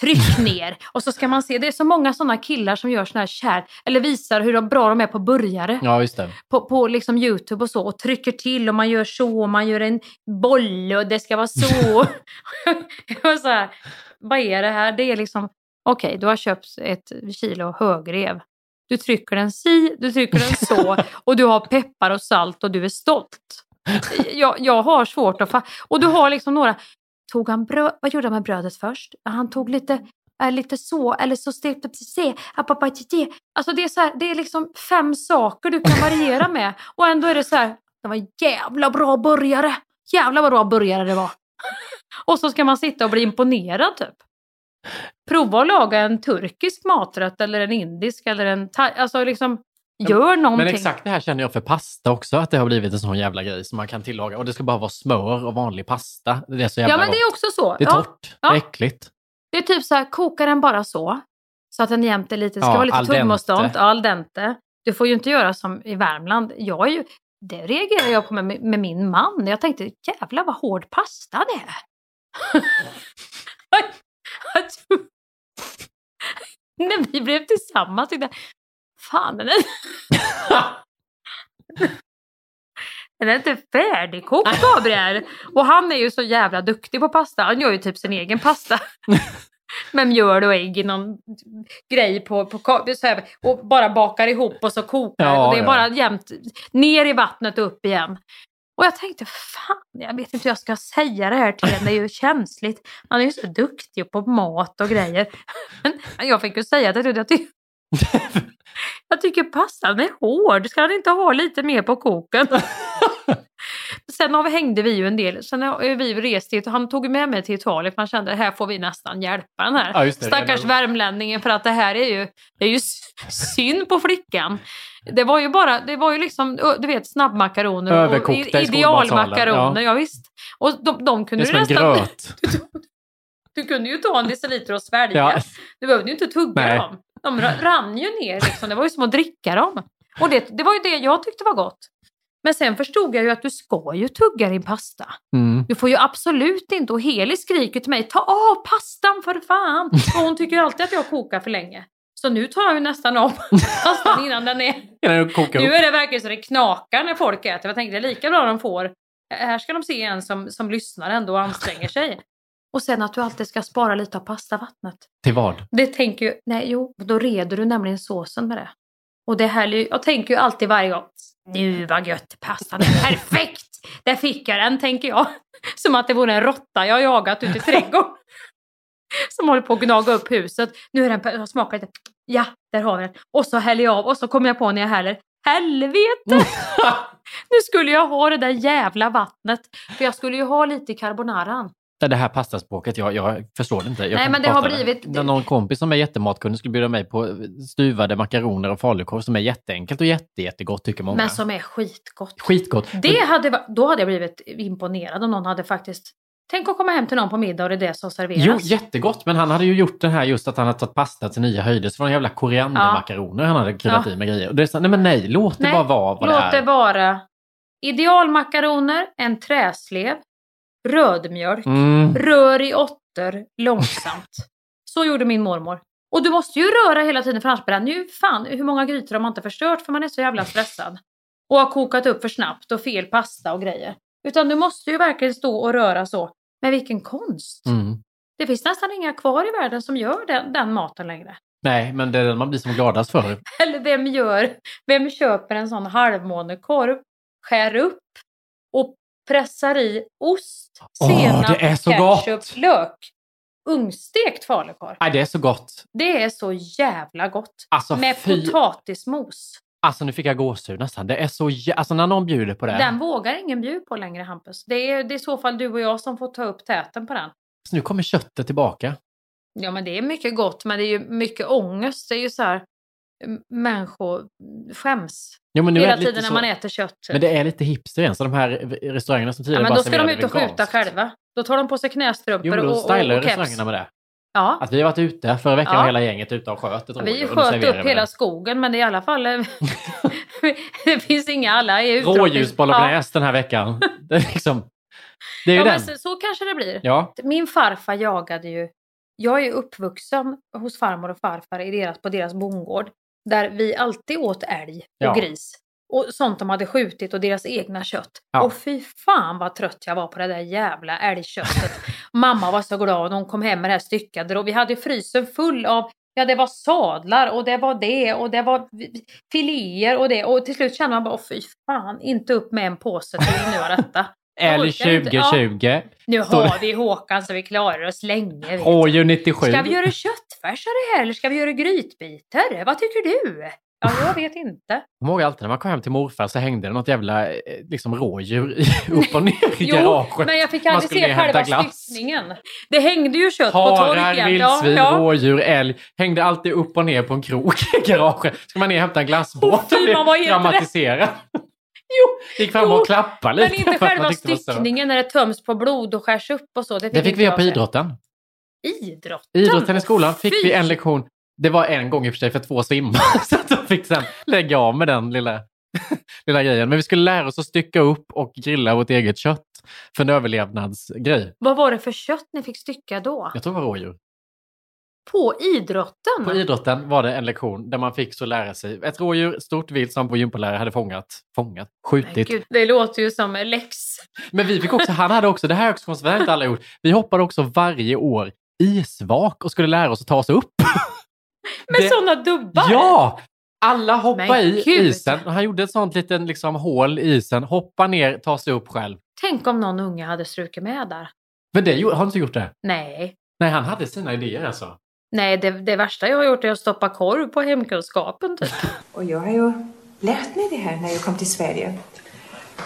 B: tryck ner och så ska man se, det är så många sådana killar som gör sådana här kär, eller visar hur de- bra de är på burgare
A: Ja, just det.
B: på, på liksom Youtube och så och trycker till och man gör så och man gör en boll och det ska vara så. och så här, vad är det här? Det är liksom, okej du har köpt ett kilo högrev. Du trycker den si, du trycker den så och du har peppar och salt och du är stolt. Jag, jag har svårt att fatta. Och du har liksom några, tog han bröd, vad gjorde han med brödet först? Han tog lite, eh, lite så, eller så stekte se, apapatite. Alltså det är så här, det är liksom fem saker du kan variera med. Och ändå är det så här, det var en jävla bra burgare. Jävla vad bra burgare det var. Och så ska man sitta och bli imponerad typ. Prova att laga en turkisk maträtt eller en indisk eller en thai. Alltså liksom, gör någonting.
A: Men exakt det här känner jag för pasta också, att det har blivit en sån jävla grej som man kan tillaga. Och det ska bara vara smör och vanlig pasta. Det är så jävla
B: Ja men
A: gott.
B: det är också så.
A: Det är
B: ja.
A: torrt,
B: Ja.
A: det är äckligt.
B: Det är typ så här, koka den bara så. Så att den jämt är lite, det ska
A: Ja,
B: vara lite
A: al dente.
B: tuggmotstånd, ja, al dente. Du får ju inte göra som i Värmland. Jag är ju, det reagerar jag på med, med min man. Jag tänkte, jävlar vad hård pasta det är. Jag- jag tror- När vi blev tillsammans tyckte jag, fan den är... Den är inte färdigkokt Gabriel! Och han är ju så jävla duktig på pasta. Han gör ju typ sin egen pasta med mjöl och ägg i någon grej på, på ka- så här, och bara bakar ihop och så kokar
A: Ja,
B: och det är
A: ja.
B: bara jämt ner i vattnet och upp igen. Och jag tänkte, fan, jag vet inte hur jag ska säga det här till henne. Det är ju känsligt. Han är ju så duktig på mat och grejer. Men jag fick ju säga det. Jag, ty- jag tycker pastan är hård. Ska han inte ha lite mer på koken? Sen har vi, hängde vi ju en del. Sen har vi rest till, han tog med mig till Italien för han kände här får vi nästan hjälpa den här
A: Ja, just det.
B: stackars värmlänningen för att det här är ju, det är ju s- synd på flickan. Det var ju bara, det var ju liksom, ö, du vet snabbmakaroner och-
A: Överkokta
B: i-
A: i
B: idealmakaroner.
A: skolmatsalen,
B: Ja.
A: ja.
B: visst. Och de, de
A: Det är
B: kunde
A: som
B: du
A: en
B: nästan...
A: gröt.
B: Du kunde ju ta en deciliter och svälja.
A: Ja.
B: Du behövde ju inte tugga
A: Nej.
B: dem. De ra- rann ju ner liksom. Det var ju som att dricka dem. Och det, det var ju det jag tyckte var gott. Men sen förstod jag ju att du ska ju tugga din pasta.
A: Mm.
B: Du får ju absolut inte, och Heli skriker till mig, ta av pastan för fan! Och hon tycker ju alltid att jag kokar för länge. Så nu tar jag ju nästan av pastan innan den är...
A: Innan du kokar
B: Nu
A: ihop.
B: är det verkligen så det knakar när folk äter. Jag tänkte det är lika bra de får. Här ska de se en som, som lyssnar ändå och anstränger sig. Och sen att du alltid ska spara lite av pastavattnet.
A: Till vad?
B: Det tänker ju, nej jo, då reder du nämligen såsen med det. Och det här, är ju- jag tänker ju alltid varje gång, nu vad gött, pastan är perfekt! Där fick jag den, tänker jag. Som att det vore en råtta jag jagat ute i trädgården. Som håller på att gnaga upp huset. Nu är den, per- jag smakar lite, ja, där har vi den. Och så häller jag av och så kommer jag på när jag häller, helvete! nu skulle jag ha det där jävla vattnet. För jag skulle ju ha lite i carbonaran.
A: Det här pastaspråket, jag, jag förstår det inte. Jag
B: Nej,
A: kan
B: men
A: inte
B: det har
A: prata
B: blivit-
A: När någon kompis som är jättematkunnig skulle bjuda mig på stuvade makaroner och falukorv som är jätteenkelt och jätte, jättegott tycker många.
B: Men som är skitgott.
A: Skitgott.
B: Det hade, va- då hade jag blivit imponerad om någon hade faktiskt... Tänk att komma hem till någon på middag och det är det som serveras.
A: Jo, jättegott. Men han hade ju gjort den här just att han hade tagit pasta till nya höjder. Så var det jävla koriandermakaroner han hade kryddat
B: Ja.
A: i med grejer. Och det är så, nej men nej, låt det
B: Nej,
A: bara vara vad
B: Låt
A: det
B: det
A: är.
B: vara idealmakaroner, en träslev, rödmjölk,
A: Mm.
B: rör i åttor långsamt. Så gjorde min mormor. Och du måste ju röra hela tiden för annars bränner ju fan hur många grytor har man inte förstört för man är så jävla stressad. Och har kokat upp för snabbt och fel pasta och grejer. Utan du måste ju verkligen stå och röra så. Men vilken konst!
A: Mm.
B: Det finns nästan inga kvar i världen som gör den, den maten längre.
A: Nej, men det är den man blir som gladast för.
B: Eller vem gör, vem köper en sån halvmånekorv, skär upp och pressar i ost,
A: Åh,
B: senap,
A: det är så
B: ketchup, lök. Ungstekt falukorv.
A: Nej, det är så gott.
B: Det är så jävla gott.
A: Alltså,
B: Med
A: fy-
B: potatismos.
A: Alltså nu fick jag gåshud nästan. Det är så jä... Alltså när någon bjuder på det.
B: Den vågar ingen bjuda på längre Hampus. Det är, det är i så fall du och jag som får ta upp täten på den.
A: Så Alltså, nu kommer köttet tillbaka.
B: Ja men det är mycket gott men det är ju mycket ångest. Det är ju så här, m- människor skäms
A: Jo, men nu
B: hela
A: är det lite
B: tiden när
A: så-
B: man äter kött. typ.
A: Men det är lite hipster igen. Så de här restaurangerna som
B: Ja,
A: tidigare
B: men
A: bara
B: då ska de
A: serverade
B: ut och
A: veganskt.
B: skjuta själva. Då tar de på sig knästrumpor
A: Jo, men
B: och,
A: då
B: och, och
A: stylar
B: keps.
A: restaurangerna med det.
B: Ja.
A: Att vi har varit ute. Förra veckan
B: Ja.
A: var hela gänget ute och sköt ett
B: Vi
A: rådjur och då
B: sköt
A: serverade
B: upp
A: vi
B: hela
A: det.
B: skogen men det är i alla fall... eh, det finns inga, alla är utrotnings-
A: Rådjursbolognese den här veckan. Det är liksom... Det är ju
B: ja,
A: den.
B: Men så, så kanske det blir.
A: Ja.
B: Min farfar jagade ju... Jag är ju uppvuxen hos farmor och farfar i deras, på deras bondgård. Där vi alltid åt älg och
A: Ja.
B: gris. Och sånt de hade skjutit och deras egna kött.
A: Ja.
B: Och fy fan vad trött jag var på det där jävla älgköttet. Mamma var så glad hon kom hem med det här styckade. Och vi hade frysen full av... Ja, det var sadlar och det var det och det var filéer och det. Och till slut kände man bara, "Åh, fy fan, inte upp med en påse till nu av detta. Jag
A: Älg
B: orkar inte.
A: 2020.
B: Nu
A: Står det-
B: har vi Håkan så vi klarar oss länge. vet
A: Rådjur
B: du.
A: 97.
B: Ska vi göra köttfärsare här eller ska vi göra grytbitar? Vad tycker du? Ja, jag vet inte.
A: Jag kommer ihåg alltid när man kom hem till morfar så hängde det något jävla eh, liksom, rådjur i- upp och ner i
B: Jo,
A: garaget.
B: men jag fick
A: Man
B: aldrig
A: skulle
B: se
A: ner och hämta
B: själva
A: glass.
B: styckningen. Det hängde ju kött på
A: Harar,
B: torget.
A: vildsvin, rådjur, älg. Hängde alltid upp och ner på en krok i garaget. Ska man ner och hämta en glassbåt?
B: fy, man var helt
A: dramatiserad.
B: Jo,
A: Gick fram
B: jo,
A: och klappade lite.
B: Men inte
A: för att man
B: själva
A: tyckte det var så.
B: styckningen när det töms på blod och skärs upp och så. Det fick,
A: Det fick
B: inte
A: vi
B: jag
A: göra på
B: se.
A: idrotten.
B: Idrotten?
A: I idrotten i skolan fick
B: Fy.
A: vi en lektion. Det var en gång i och för sig för två simmar. Så att de fick sen lägga av med den lilla, lilla grejen. Men vi skulle lära oss att stycka upp och grilla vårt eget kött. För en överlevnadsgrej.
B: Vad var det för kött ni fick stycka då?
A: Jag tror det var rådjur.
B: På idrotten?
A: På idrotten var det en lektion där man fick så lära sig. Ett rådjur, stort vilt som vår gympalärare hade fångat. Fångat? Skjutit.
B: Gud, det låter ju som läx.
A: Men vi fick också, han hade också, det här är också konstigt, det här har inte alla gjort. Vi hoppade också varje år isvak och skulle lära oss att ta oss upp.
B: Med
A: Det-
B: sådana dubbar?
A: Ja! Alla hoppar
B: Men
A: i
B: gud.
A: isen. Han gjorde ett sånt litet liksom, hål i isen. Hoppar ner, tar sig upp själv.
B: Tänk om någon unge hade strukit med där.
A: Men det gjorde- har han inte gjort det?
B: Nej.
A: Nej, han hade sina idéer alltså.
B: Nej, det, det värsta jag har gjort är att stoppa korv på hemkunskapen typ.
I: Och jag har ju lärt mig det här när jag kom till Sverige.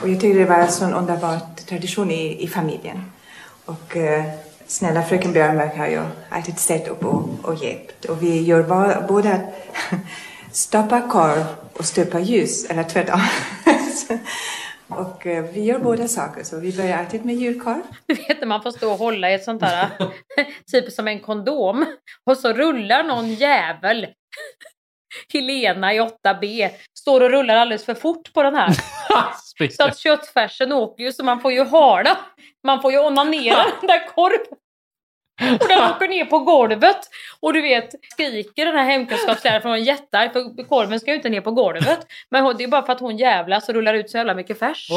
I: Och jag tyckte det var en sån underbar tradition i, i familjen. Och eh, snälla fröken Björnberg har ju alltid ställt upp och, och hjälpt. Och vi gör ba, både att stoppa korv och stöpa ljus, eller tvärtom. och eh, vi gör båda saker, så vi börjar alltid med julkorv.
B: Du vet när man får stå och hålla i ett sånt där, typ som en kondom. Och så rullar någon jävel, Helena i 8B, står och rullar alldeles för fort på den här. så att köttfärsen åker ju så man får ju hala. Man får ju onanera den där korven. Och den åker ner på golvet. Och du vet, skriker den här hemkunskapsläraren för hon är jättearg för korven ska ju inte ner på golvet. Men hon- det är bara för att hon jävlas och rullar ut så jävla mycket färs.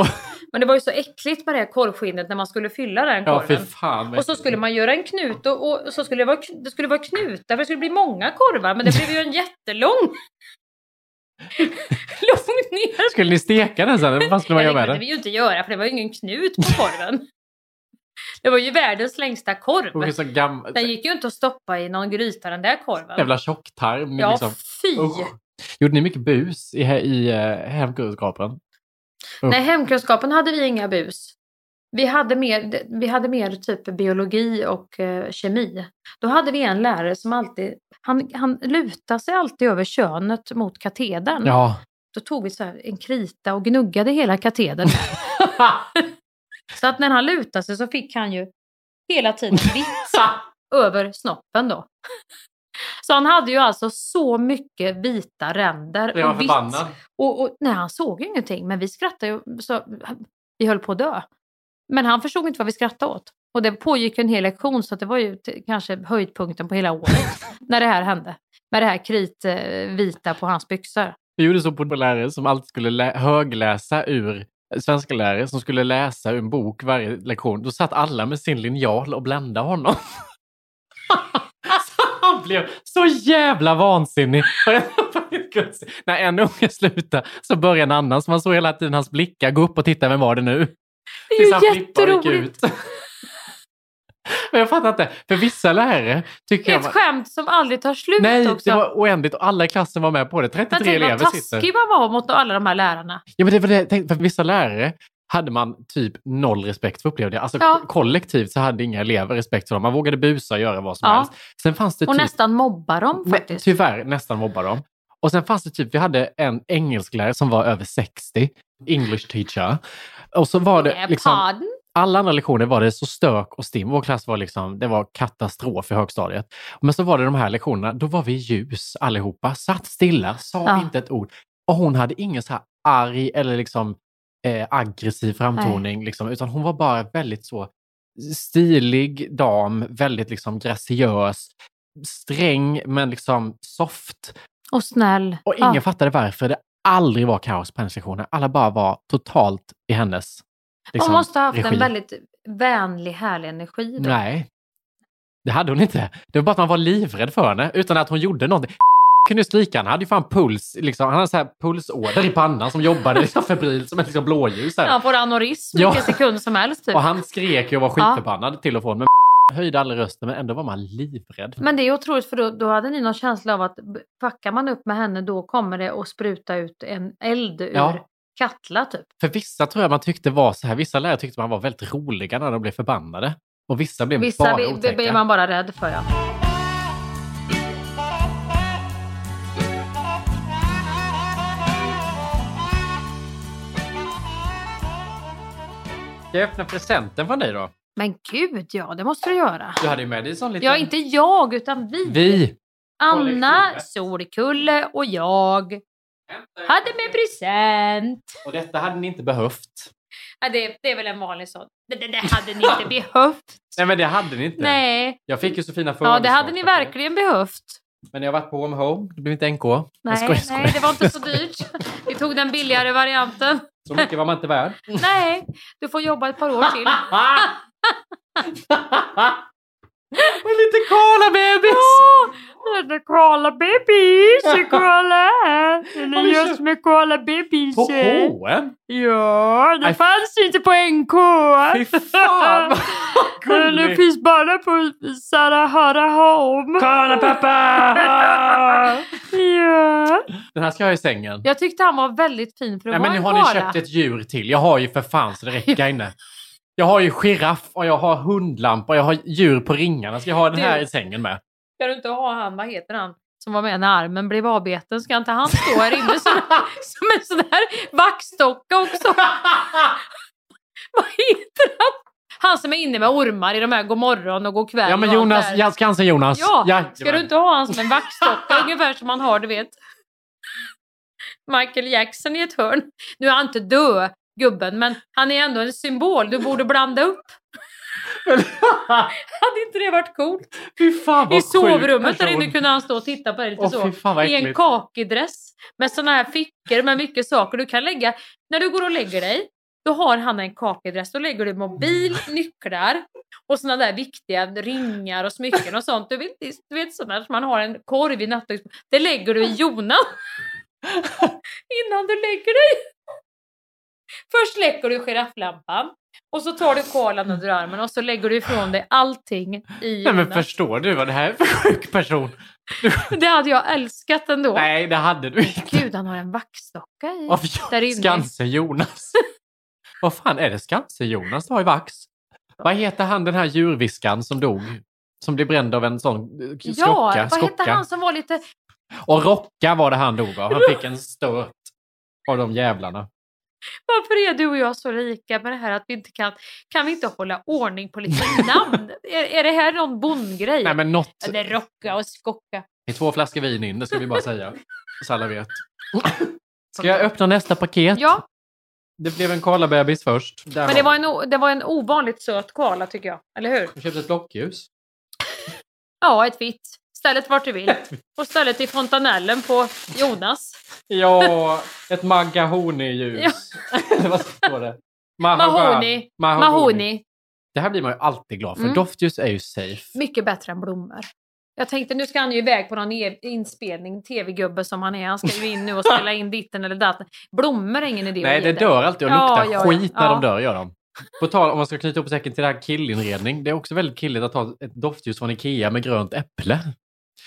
B: Men det var ju så äckligt med det här korvskinnet när man skulle fylla den
A: Ja, fy
B: korven.
A: fan. vad
B: och så
A: äckligt.
B: skulle man göra en knut och, och så skulle det vara, kn- det skulle vara knutar för det skulle bli många korvar men det blev ju en jättelång. Lång ner.
A: Skulle ni steka den sen? Vad fan skulle man
B: Ja,
A: göra med
B: kunde
A: den?
B: vi ju inte göra för det var ju ingen knut på korven. Det var ju världens längsta
A: Det var ju så
B: korv.
A: gammal,
B: Den gick ju inte att stoppa i någon gryta den där korven.
A: jävla tjocktarm.
B: Ja,
A: liksom.
B: fy!
A: Usch. Gjorde ni mycket bus i, i eh, hemkunskapen? Usch.
B: Nej, hemkunskapen hade vi inga bus. Vi hade mer, vi hade mer typ biologi och eh, kemi. Då hade vi en lärare som alltid, han, han lutade sig alltid över könet mot katedern.
A: Ja.
B: Då tog vi så här en krita och gnuggade hela katedern. så att när han lutade sig så fick han ju hela tiden vitt över snoppen då. Så han hade ju alltså så mycket vita ränder
A: Jag var
B: och vitt
A: förbannad.
B: och, och nej, han såg ju ingenting, men vi skrattade ju. Så, vi höll på att dö. Men han förstod inte vad vi skrattade åt. Och det pågick ju en hel lektion, så att det var ju t- kanske höjdpunkten på hela året när det här hände. Med det här kritvita på hans byxor.
A: Vi gjorde så på på lärare som alltid skulle lä- högläsa ur svenska lärare som skulle läsa ur en bok varje lektion. Då satt alla med sin linjal och bländade honom. Så Han blev så jävla vansinnig. När en unge slutade så började en annan. Så man såg hela tiden hans blickar gå upp och titta, vem var det nu?
B: Det är
A: Tills
B: ju
A: han flippade och gick
B: jätteroligt.
A: ut. Men jag fattar inte. För vissa lärare tycker
B: Ett
A: jag...
B: skämt som aldrig tar slut
A: Nej,
B: också.
A: det var oändligt och alla i klassen var med på det.
B: men
A: 33
B: tänk vad
A: elever sitter.
B: taskig man var mot alla de här lärarna.
A: Ja, men det var det. jag tänkte, För vissa lärare hade man typ noll respekt för upplevde jag. Alltså
B: Ja.
A: ko- kollektivt så hade inga elever respekt för dem. Man vågade busa och göra vad som
B: Ja.
A: helst. Sen fanns det
B: Och
A: typ,
B: nästan mobbar dem
A: men, typ,
B: faktiskt.
A: tyvärr nästan mobba dem. Och sen fanns det typ, vi hade en engelsklärare som var över 60, English teacher. Och så var det
B: Eh,
A: liksom,
B: pardon?
A: alla andra lektioner var det så stök och stim. Vår klass var liksom, det var katastrof i högstadiet. Men så var det de här lektionerna, då var vi ljus allihopa. Satt stilla, sa
O: Ja.
A: inte ett ord. Och hon hade ingen så här arg eller liksom eh, aggressiv framtoning, liksom, utan hon var bara väldigt så stilig dam, väldigt liksom graciös, sträng men liksom soft.
B: Och snäll.
A: Och ingen fattade varför det aldrig var kaos på hennes lektioner. Alla bara var totalt i hennes liksom,
B: Hon måste ha haft
A: regi.
B: en väldigt vänlig, härlig energi. typ. Då.
A: Nej, det hade hon inte. Det var bara att man var livrädd för henne utan att hon gjorde någonting. kunde ju skrika, han hade ju fan puls, liksom. han hade så här pulsåder i pannan som jobbade liksom febrilt som ett liksom blåljus. Här.
B: Han får aneurism
A: Ja.
B: vilken sekund som helst. Typ.
A: Och han skrek ju och var
B: Ja.
A: skitförbannad till och från. Men höjde aldrig rösten, men ändå var man livrädd.
B: Men det är otroligt för då, då hade ni någon känsla av att b- backar man upp med henne då kommer det att spruta ut en eld ur
A: Ja.
B: Katla typ.
A: För vissa tror jag man tyckte var så här, vissa lärare tyckte man var väldigt roliga när de blev förbannade. Och vissa blev
B: Vissa
A: bara
B: blir-
A: otäcka.
B: blir blir man bara rädd för ja.
A: Ska jag öppna presenten från dig då?
B: Men gud ja, det måste du göra.
A: Du hade ju med dig en sån liten...
B: Ja, inte jag utan vi.
A: Vi!
B: Anna, Solkulle och jag hade med present.
A: Och detta hade ni inte behövt.
B: Ja, det, det är väl en vanlig sån. Det, det, det hade ni inte behövt.
A: Nej, men det hade ni inte.
B: Nej.
A: Jag fick ju så fina
B: Ja, det
A: födelsedagspresenter.
B: hade ni verkligen behövt.
A: Men jag har varit på Home Home. Det blev inte NK. Nej,
B: Nej, nej, det var inte så dyrt. Vi tog den billigare varianten.
A: Så mycket var man inte värd.
B: Nej, du får jobba ett par år till.
A: En liten koala-bebis!
B: Ja, en liten koala-bebis! en koala.
P: fanns just med Koala Babies.
A: På H&M?
P: Ja, det
A: Nej,
P: fanns inte på NK.
A: Fy fan,
P: Men det
A: gulligt.
P: finns bara på Sarahara Home.
A: Koala pappa!
P: ja.
A: Den här ska jag ha i sängen.
B: Jag tyckte han var väldigt fin för att
A: Nej, men
B: vara
A: nu
B: en
A: har ni
B: koala.
A: köpt ett djur till. Jag har ju för fan så det räcker inne. Jag har ju giraff och jag har hundlampa och jag har djur på ringarna. Ska jag ha den här
B: Du-
A: i sängen med?
B: Ska du inte ha han, vad heter han, som var med när armen blev avbeten? Ska inte han stå här inne som, som en sån här vaxdocka också? vad heter han? Han som är inne med ormar i de här god morgon och god kväll.
A: Ja, men
B: och allt
A: Jonas,
B: det här.
A: Jans Jansen Jonas.
B: Ja, ska
A: Alltså, Jajamän.
B: du inte ha han som en vaxdocka ungefär som man har, du vet. Michael Jackson i ett hörn. Nu är han inte död, gubben, men han är ändå en symbol. Du borde blanda upp. Hade inte det varit coolt?
A: vad
B: I
A: sjuk
B: sovrummet där
A: person.
B: inne kunde han stå och titta på det lite
A: Åh, fy fan,
B: så.
A: vad
B: I en
A: äckligt.
B: kakidress. Med såna här fickor med mycket saker du kan lägga. När du går och lägger dig, då har han en kakidress. Då lägger du mobil, nycklar och såna där viktiga ringar och smycken och sånt. Du vet, du vet sådana som man har en korv i nattduksbordet. Det lägger du i jonan. Innan du lägger dig. Först släcker du girafflampan. Och så tar du koalan under armen och så lägger du ifrån dig allting i
A: Nej, men
B: jonan.
A: förstår du vad det här är för sjuk person?
B: Det hade jag älskat ändå.
A: Nej, det hade du inte.
B: Gud, han har en vaxdocka i.
A: Av
B: där inne.
A: Skansen-Jonas. Vad fan är det Skansen-Jonas har i vax? Vad heter han den här djurviskan som dog? Som blev bränd av en sån eh, skocka?
B: Ja, vad
A: skocka.
B: hette han som var lite...
A: Och Rocka var det han dog av. Han fick en stöt av de jävlarna.
B: Varför är du och jag så lika med det här att vi inte kan... Kan vi inte hålla ordning på lite namn? är, är det här någon bondgrej?
A: Nej, men något...
B: Eller rocka och skocka.
A: Det är två flaskor vin in, det ska vi bara säga. Så alla vet. Ska jag öppna nästa paket?
B: Ja,
A: Det blev en koalabebis först. Där
B: men
A: har
B: det
A: vi.
B: var en, o- det var en ovanligt söt koala tycker jag. Eller hur?
A: Jag köpte ett blockljus.
B: Ja, ett vitt. Stället vart du vill. Och stället i fontanellen på Jonas.
A: Ja, ett magahoni-ljus. Eller vad står det?
B: Mahoney.
A: Mahogani.
B: Mahoney.
A: Det här blir man ju alltid glad för.
B: Mm.
A: Doftljus är ju safe.
B: Mycket bättre än blommor. Jag tänkte nu ska han ju iväg på någon e- inspelning, tv-gubbe som han är. Han ska ju in nu och spela in ditten eller datten. Blommor är ingen idé
A: Nej,
B: att
A: det
B: ge dig.
A: dör alltid och
B: Ja,
A: luktar
B: ja, ja.
A: skit när
B: Ja.
A: de dör, gör de. På tal om man ska knyta ihop säcken till det här killinredning. Det är också väldigt killigt att ha ett doftljus från Ikea med grönt äpple.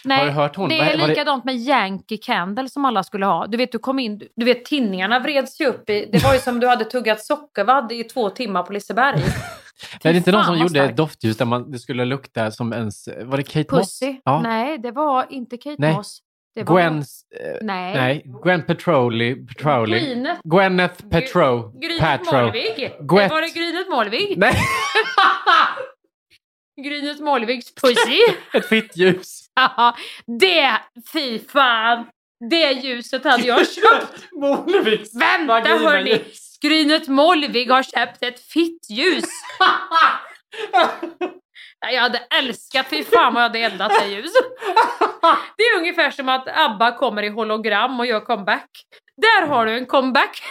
B: Nej,
A: Har du hört hon?
B: Det
A: Vad-
B: är
A: vad det-
B: likadant med Yankee Candle som alla skulle ha. Du vet, du kom in, du vet tinningarna vreds ju upp i... Det var ju som du hade tuggat sockervadd i två timmar på Liseberg.
A: Nej, det är inte någon som
B: vad
A: gjorde
B: starkt.
A: ett doftljus där man, det skulle lukta som ens... Var det Kate
B: Pussy?
A: Moss? Ja.
B: Nej, det var inte Kate
A: Nej.
B: Moss. Det var
A: Gwens... eh,
B: Nej.
A: nej. Gwen Petroli. Petroli.
B: Gwyneth-
A: Gwyneth Petro.
B: Grynet
A: Petro.
B: Målvig.
A: Gwet-
B: Var det Grynet Målvig?
A: Nej.
B: Grynet Målvigs pussy.
A: Ett fitt ljus.
B: Ja, det, fy fan. Det ljuset hade jag köpt.
A: Målviks
B: Vänta
A: vagina
B: hörni. Grynet Molvig har köpt ett fittljus. Nej, Jag hade älskat, fy fan vad jag hade eldat det ljuset. Det är ungefär som att ABBA kommer i hologram och gör comeback. Där har du en comeback.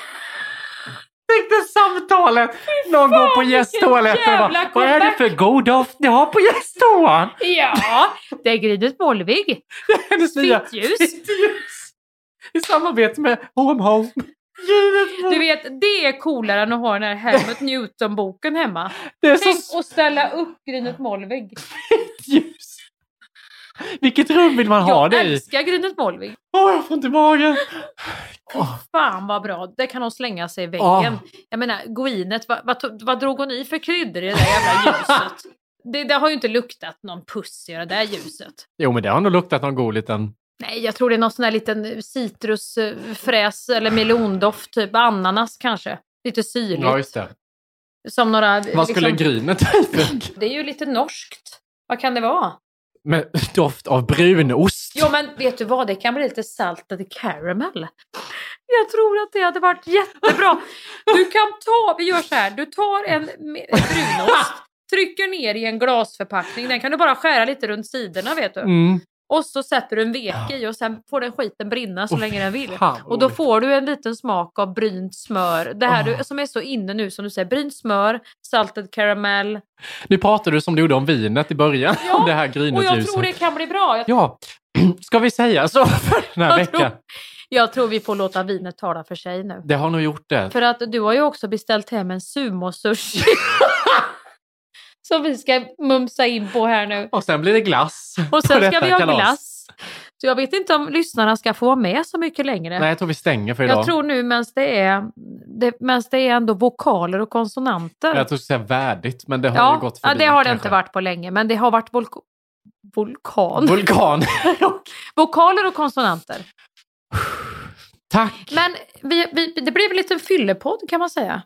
A: Tänk dig samtalet! Någon går på gästtoaletten och
B: jävla
A: bara, Vad är det för god doft ni har på gästtoan?
B: Ja, det är Grynet Molvig.
A: Hennes nya
B: Fittljus.
A: Fittljus! I samarbete med Home Home. Grynet
B: Du vet, det är coolare än att ha den här Helmut Newton-boken hemma.
A: Det är så
B: Tänk att ställa upp Grynet Molvig.
A: Fittljus! Vilket rum vill man ha
B: Jag
A: det i?
B: älskar Grynet Molvig.
A: Åh, jag får inte magen!
B: Fan vad bra, det kan hon slänga sig i väggen.
A: Åh.
B: Jag menar, Gwyneth, vad, vad, tog- vad drog hon i för kryddor i det där jävla ljuset? Det, det har ju inte luktat någon puss i det där ljuset.
A: Jo, men det har nog luktat någon god liten...
B: Nej, jag tror det är någon sån där liten eh, citrusfräs eller melondoft, typ ananas kanske. Lite syrligt.
A: Ja, just det.
B: Som några... liksom-
A: Vad skulle Grynet ha i för-
B: Det är ju lite norskt. Vad kan det vara?
A: Med doft av brunost?
B: Jo men vet du vad, det kan bli lite salted caramel. Jag tror att det hade varit jättebra. Du kan ta, vi gör så här, du tar en me- brunost, trycker ner i en glasförpackning, den kan du bara skära lite runt sidorna vet du.
A: Mm.
B: Och så sätter du en vek i och sen får den skiten brinna så länge den vill.
A: fan, vad
B: Och då
A: roligt. Ah.
B: får du en liten smak av brynt smör. Det här du, som är så inne nu som du säger, brynt smör, salted caramel.
A: Nu pratar du som du gjorde om vinet i början, om det här
B: Och jag
A: Grynet-ljuset.
B: tror det kan bli bra. Jag
A: Ja, ska vi säga så för den här
B: Jag tror-
A: veckan?
B: Jag tror vi får låta vinet tala för sig nu.
A: Det har nog gjort det.
B: För att du har ju också beställt hem en sumo-sushi. Som vi ska mumsa in på här nu.
A: Och sen blir det glass.
B: Och
A: på
B: sen ska
A: detta
B: vi ha
A: kalas.
B: glass. Så jag vet inte om lyssnarna ska få vara med så mycket längre.
A: Nej, jag tror vi stänger för idag.
B: jag tror nu medan det är, det, medan det är ändå vokaler och konsonanter.
A: jag tror du skulle säga värdigt, men det har ju
B: ja,
A: gått
B: ja,
A: förbi.
B: det har det
A: kanske.
B: inte varit på länge, men det har varit volk- vulkan.
A: Vulkan.
B: vokaler och konsonanter.
A: Tack!
B: Men vi, vi, det blev en liten fyllepodd kan man säga.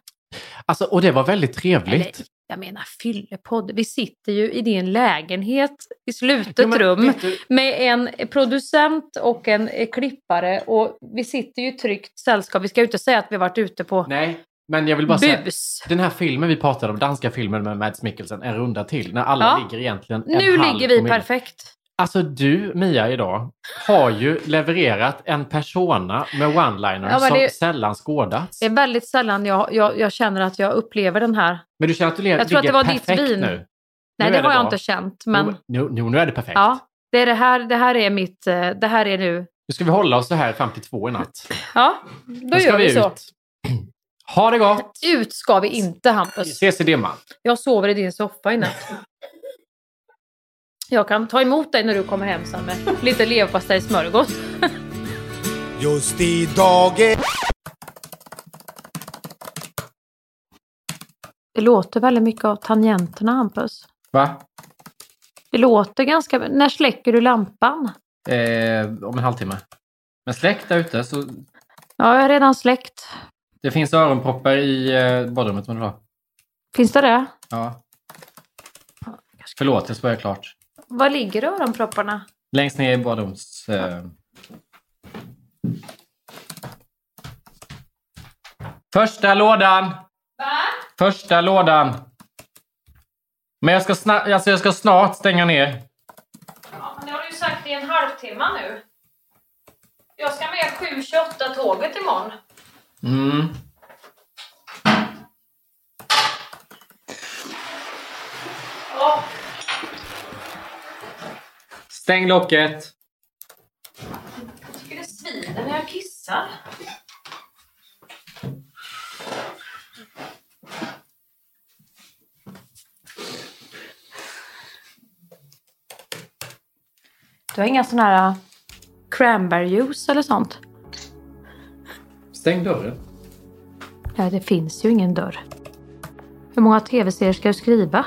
A: Alltså, och det var väldigt trevligt.
B: Eller, jag menar fyllepodd. Vi sitter ju i din lägenhet i slutet
A: Jo, men
B: rum
A: vet du-
B: med en producent och en eh, klippare och vi sitter ju i tryggt sällskap. Vi ska ju inte säga att vi har varit ute på...
A: Nej, Men jag vill bara
B: Bus.
A: säga, den här filmen vi pratade om, danska filmen med Mads Mikkelsen, en runda till, när alla
B: Ja.
A: ligger egentligen en
B: Nu
A: halv
B: ligger vi
A: promille.
B: perfekt.
A: Alltså du, Mia, idag har ju levererat en persona med one-liners
B: Ja, men
A: som
B: det-
A: sällan skådats.
B: Det är väldigt sällan jag, jag, jag känner att jag upplever den här.
A: Men du känner att du le-
B: Jag tror att
A: ligger
B: det var ditt
A: perfekt
B: vin.
A: nu?
B: Nej,
A: Nu
B: det
A: är
B: har jag
A: bra.
B: inte känt. Men
A: Jo, nu, nu, nu är det perfekt.
B: ja, det, är det, här, det här är mitt... eh, Det här är nu...
A: Nu ska vi hålla oss så här fram till två i natt.
B: Ja,
A: ska
B: då gör vi,
A: vi
B: så.
A: ut. Ha det gott!
B: Ut ska vi inte, Hampus.
A: Ses i dimman.
B: Jag sover i din soffa i natt. Jag kan ta emot dig när du kommer hem sen med lite leverpastejsmörgås.
G: Just idag är...
B: Det låter väldigt mycket av tangenterna, Hampus.
A: Va?
B: Det låter ganska... När släcker du lampan?
A: Eh, om en halvtimme. Men släck där ute så
B: Ja, jag har redan släckt.
A: det finns öronproppar i eh, badrummet om du har.
B: Finns det det?
A: Ja. Förlåt, jag spöade klart.
B: Var ligger öronpropparna?
A: Längst ner i badrums... Eh... Första lådan! Va? Första lådan! Men jag ska, sna- alltså jag ska snart stänga ner.
B: Ja, men det har du ju sagt i en halvtimme nu. Jag ska med 7.28-tåget imorgon.
A: Mm.
B: Ja.
A: Stäng locket!
B: Jag tycker det svider när jag kissar. Du har inga sådana här äh, cranberryjuice eller sånt?
A: Stäng dörren.
B: Nej, det finns ju ingen dörr. Hur många tv-serier ska du skriva?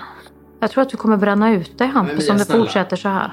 B: Jag tror att du kommer bränna ut dig
A: Men
B: Hampus
A: Mia,
B: om det
A: snälla.
B: fortsätter så här.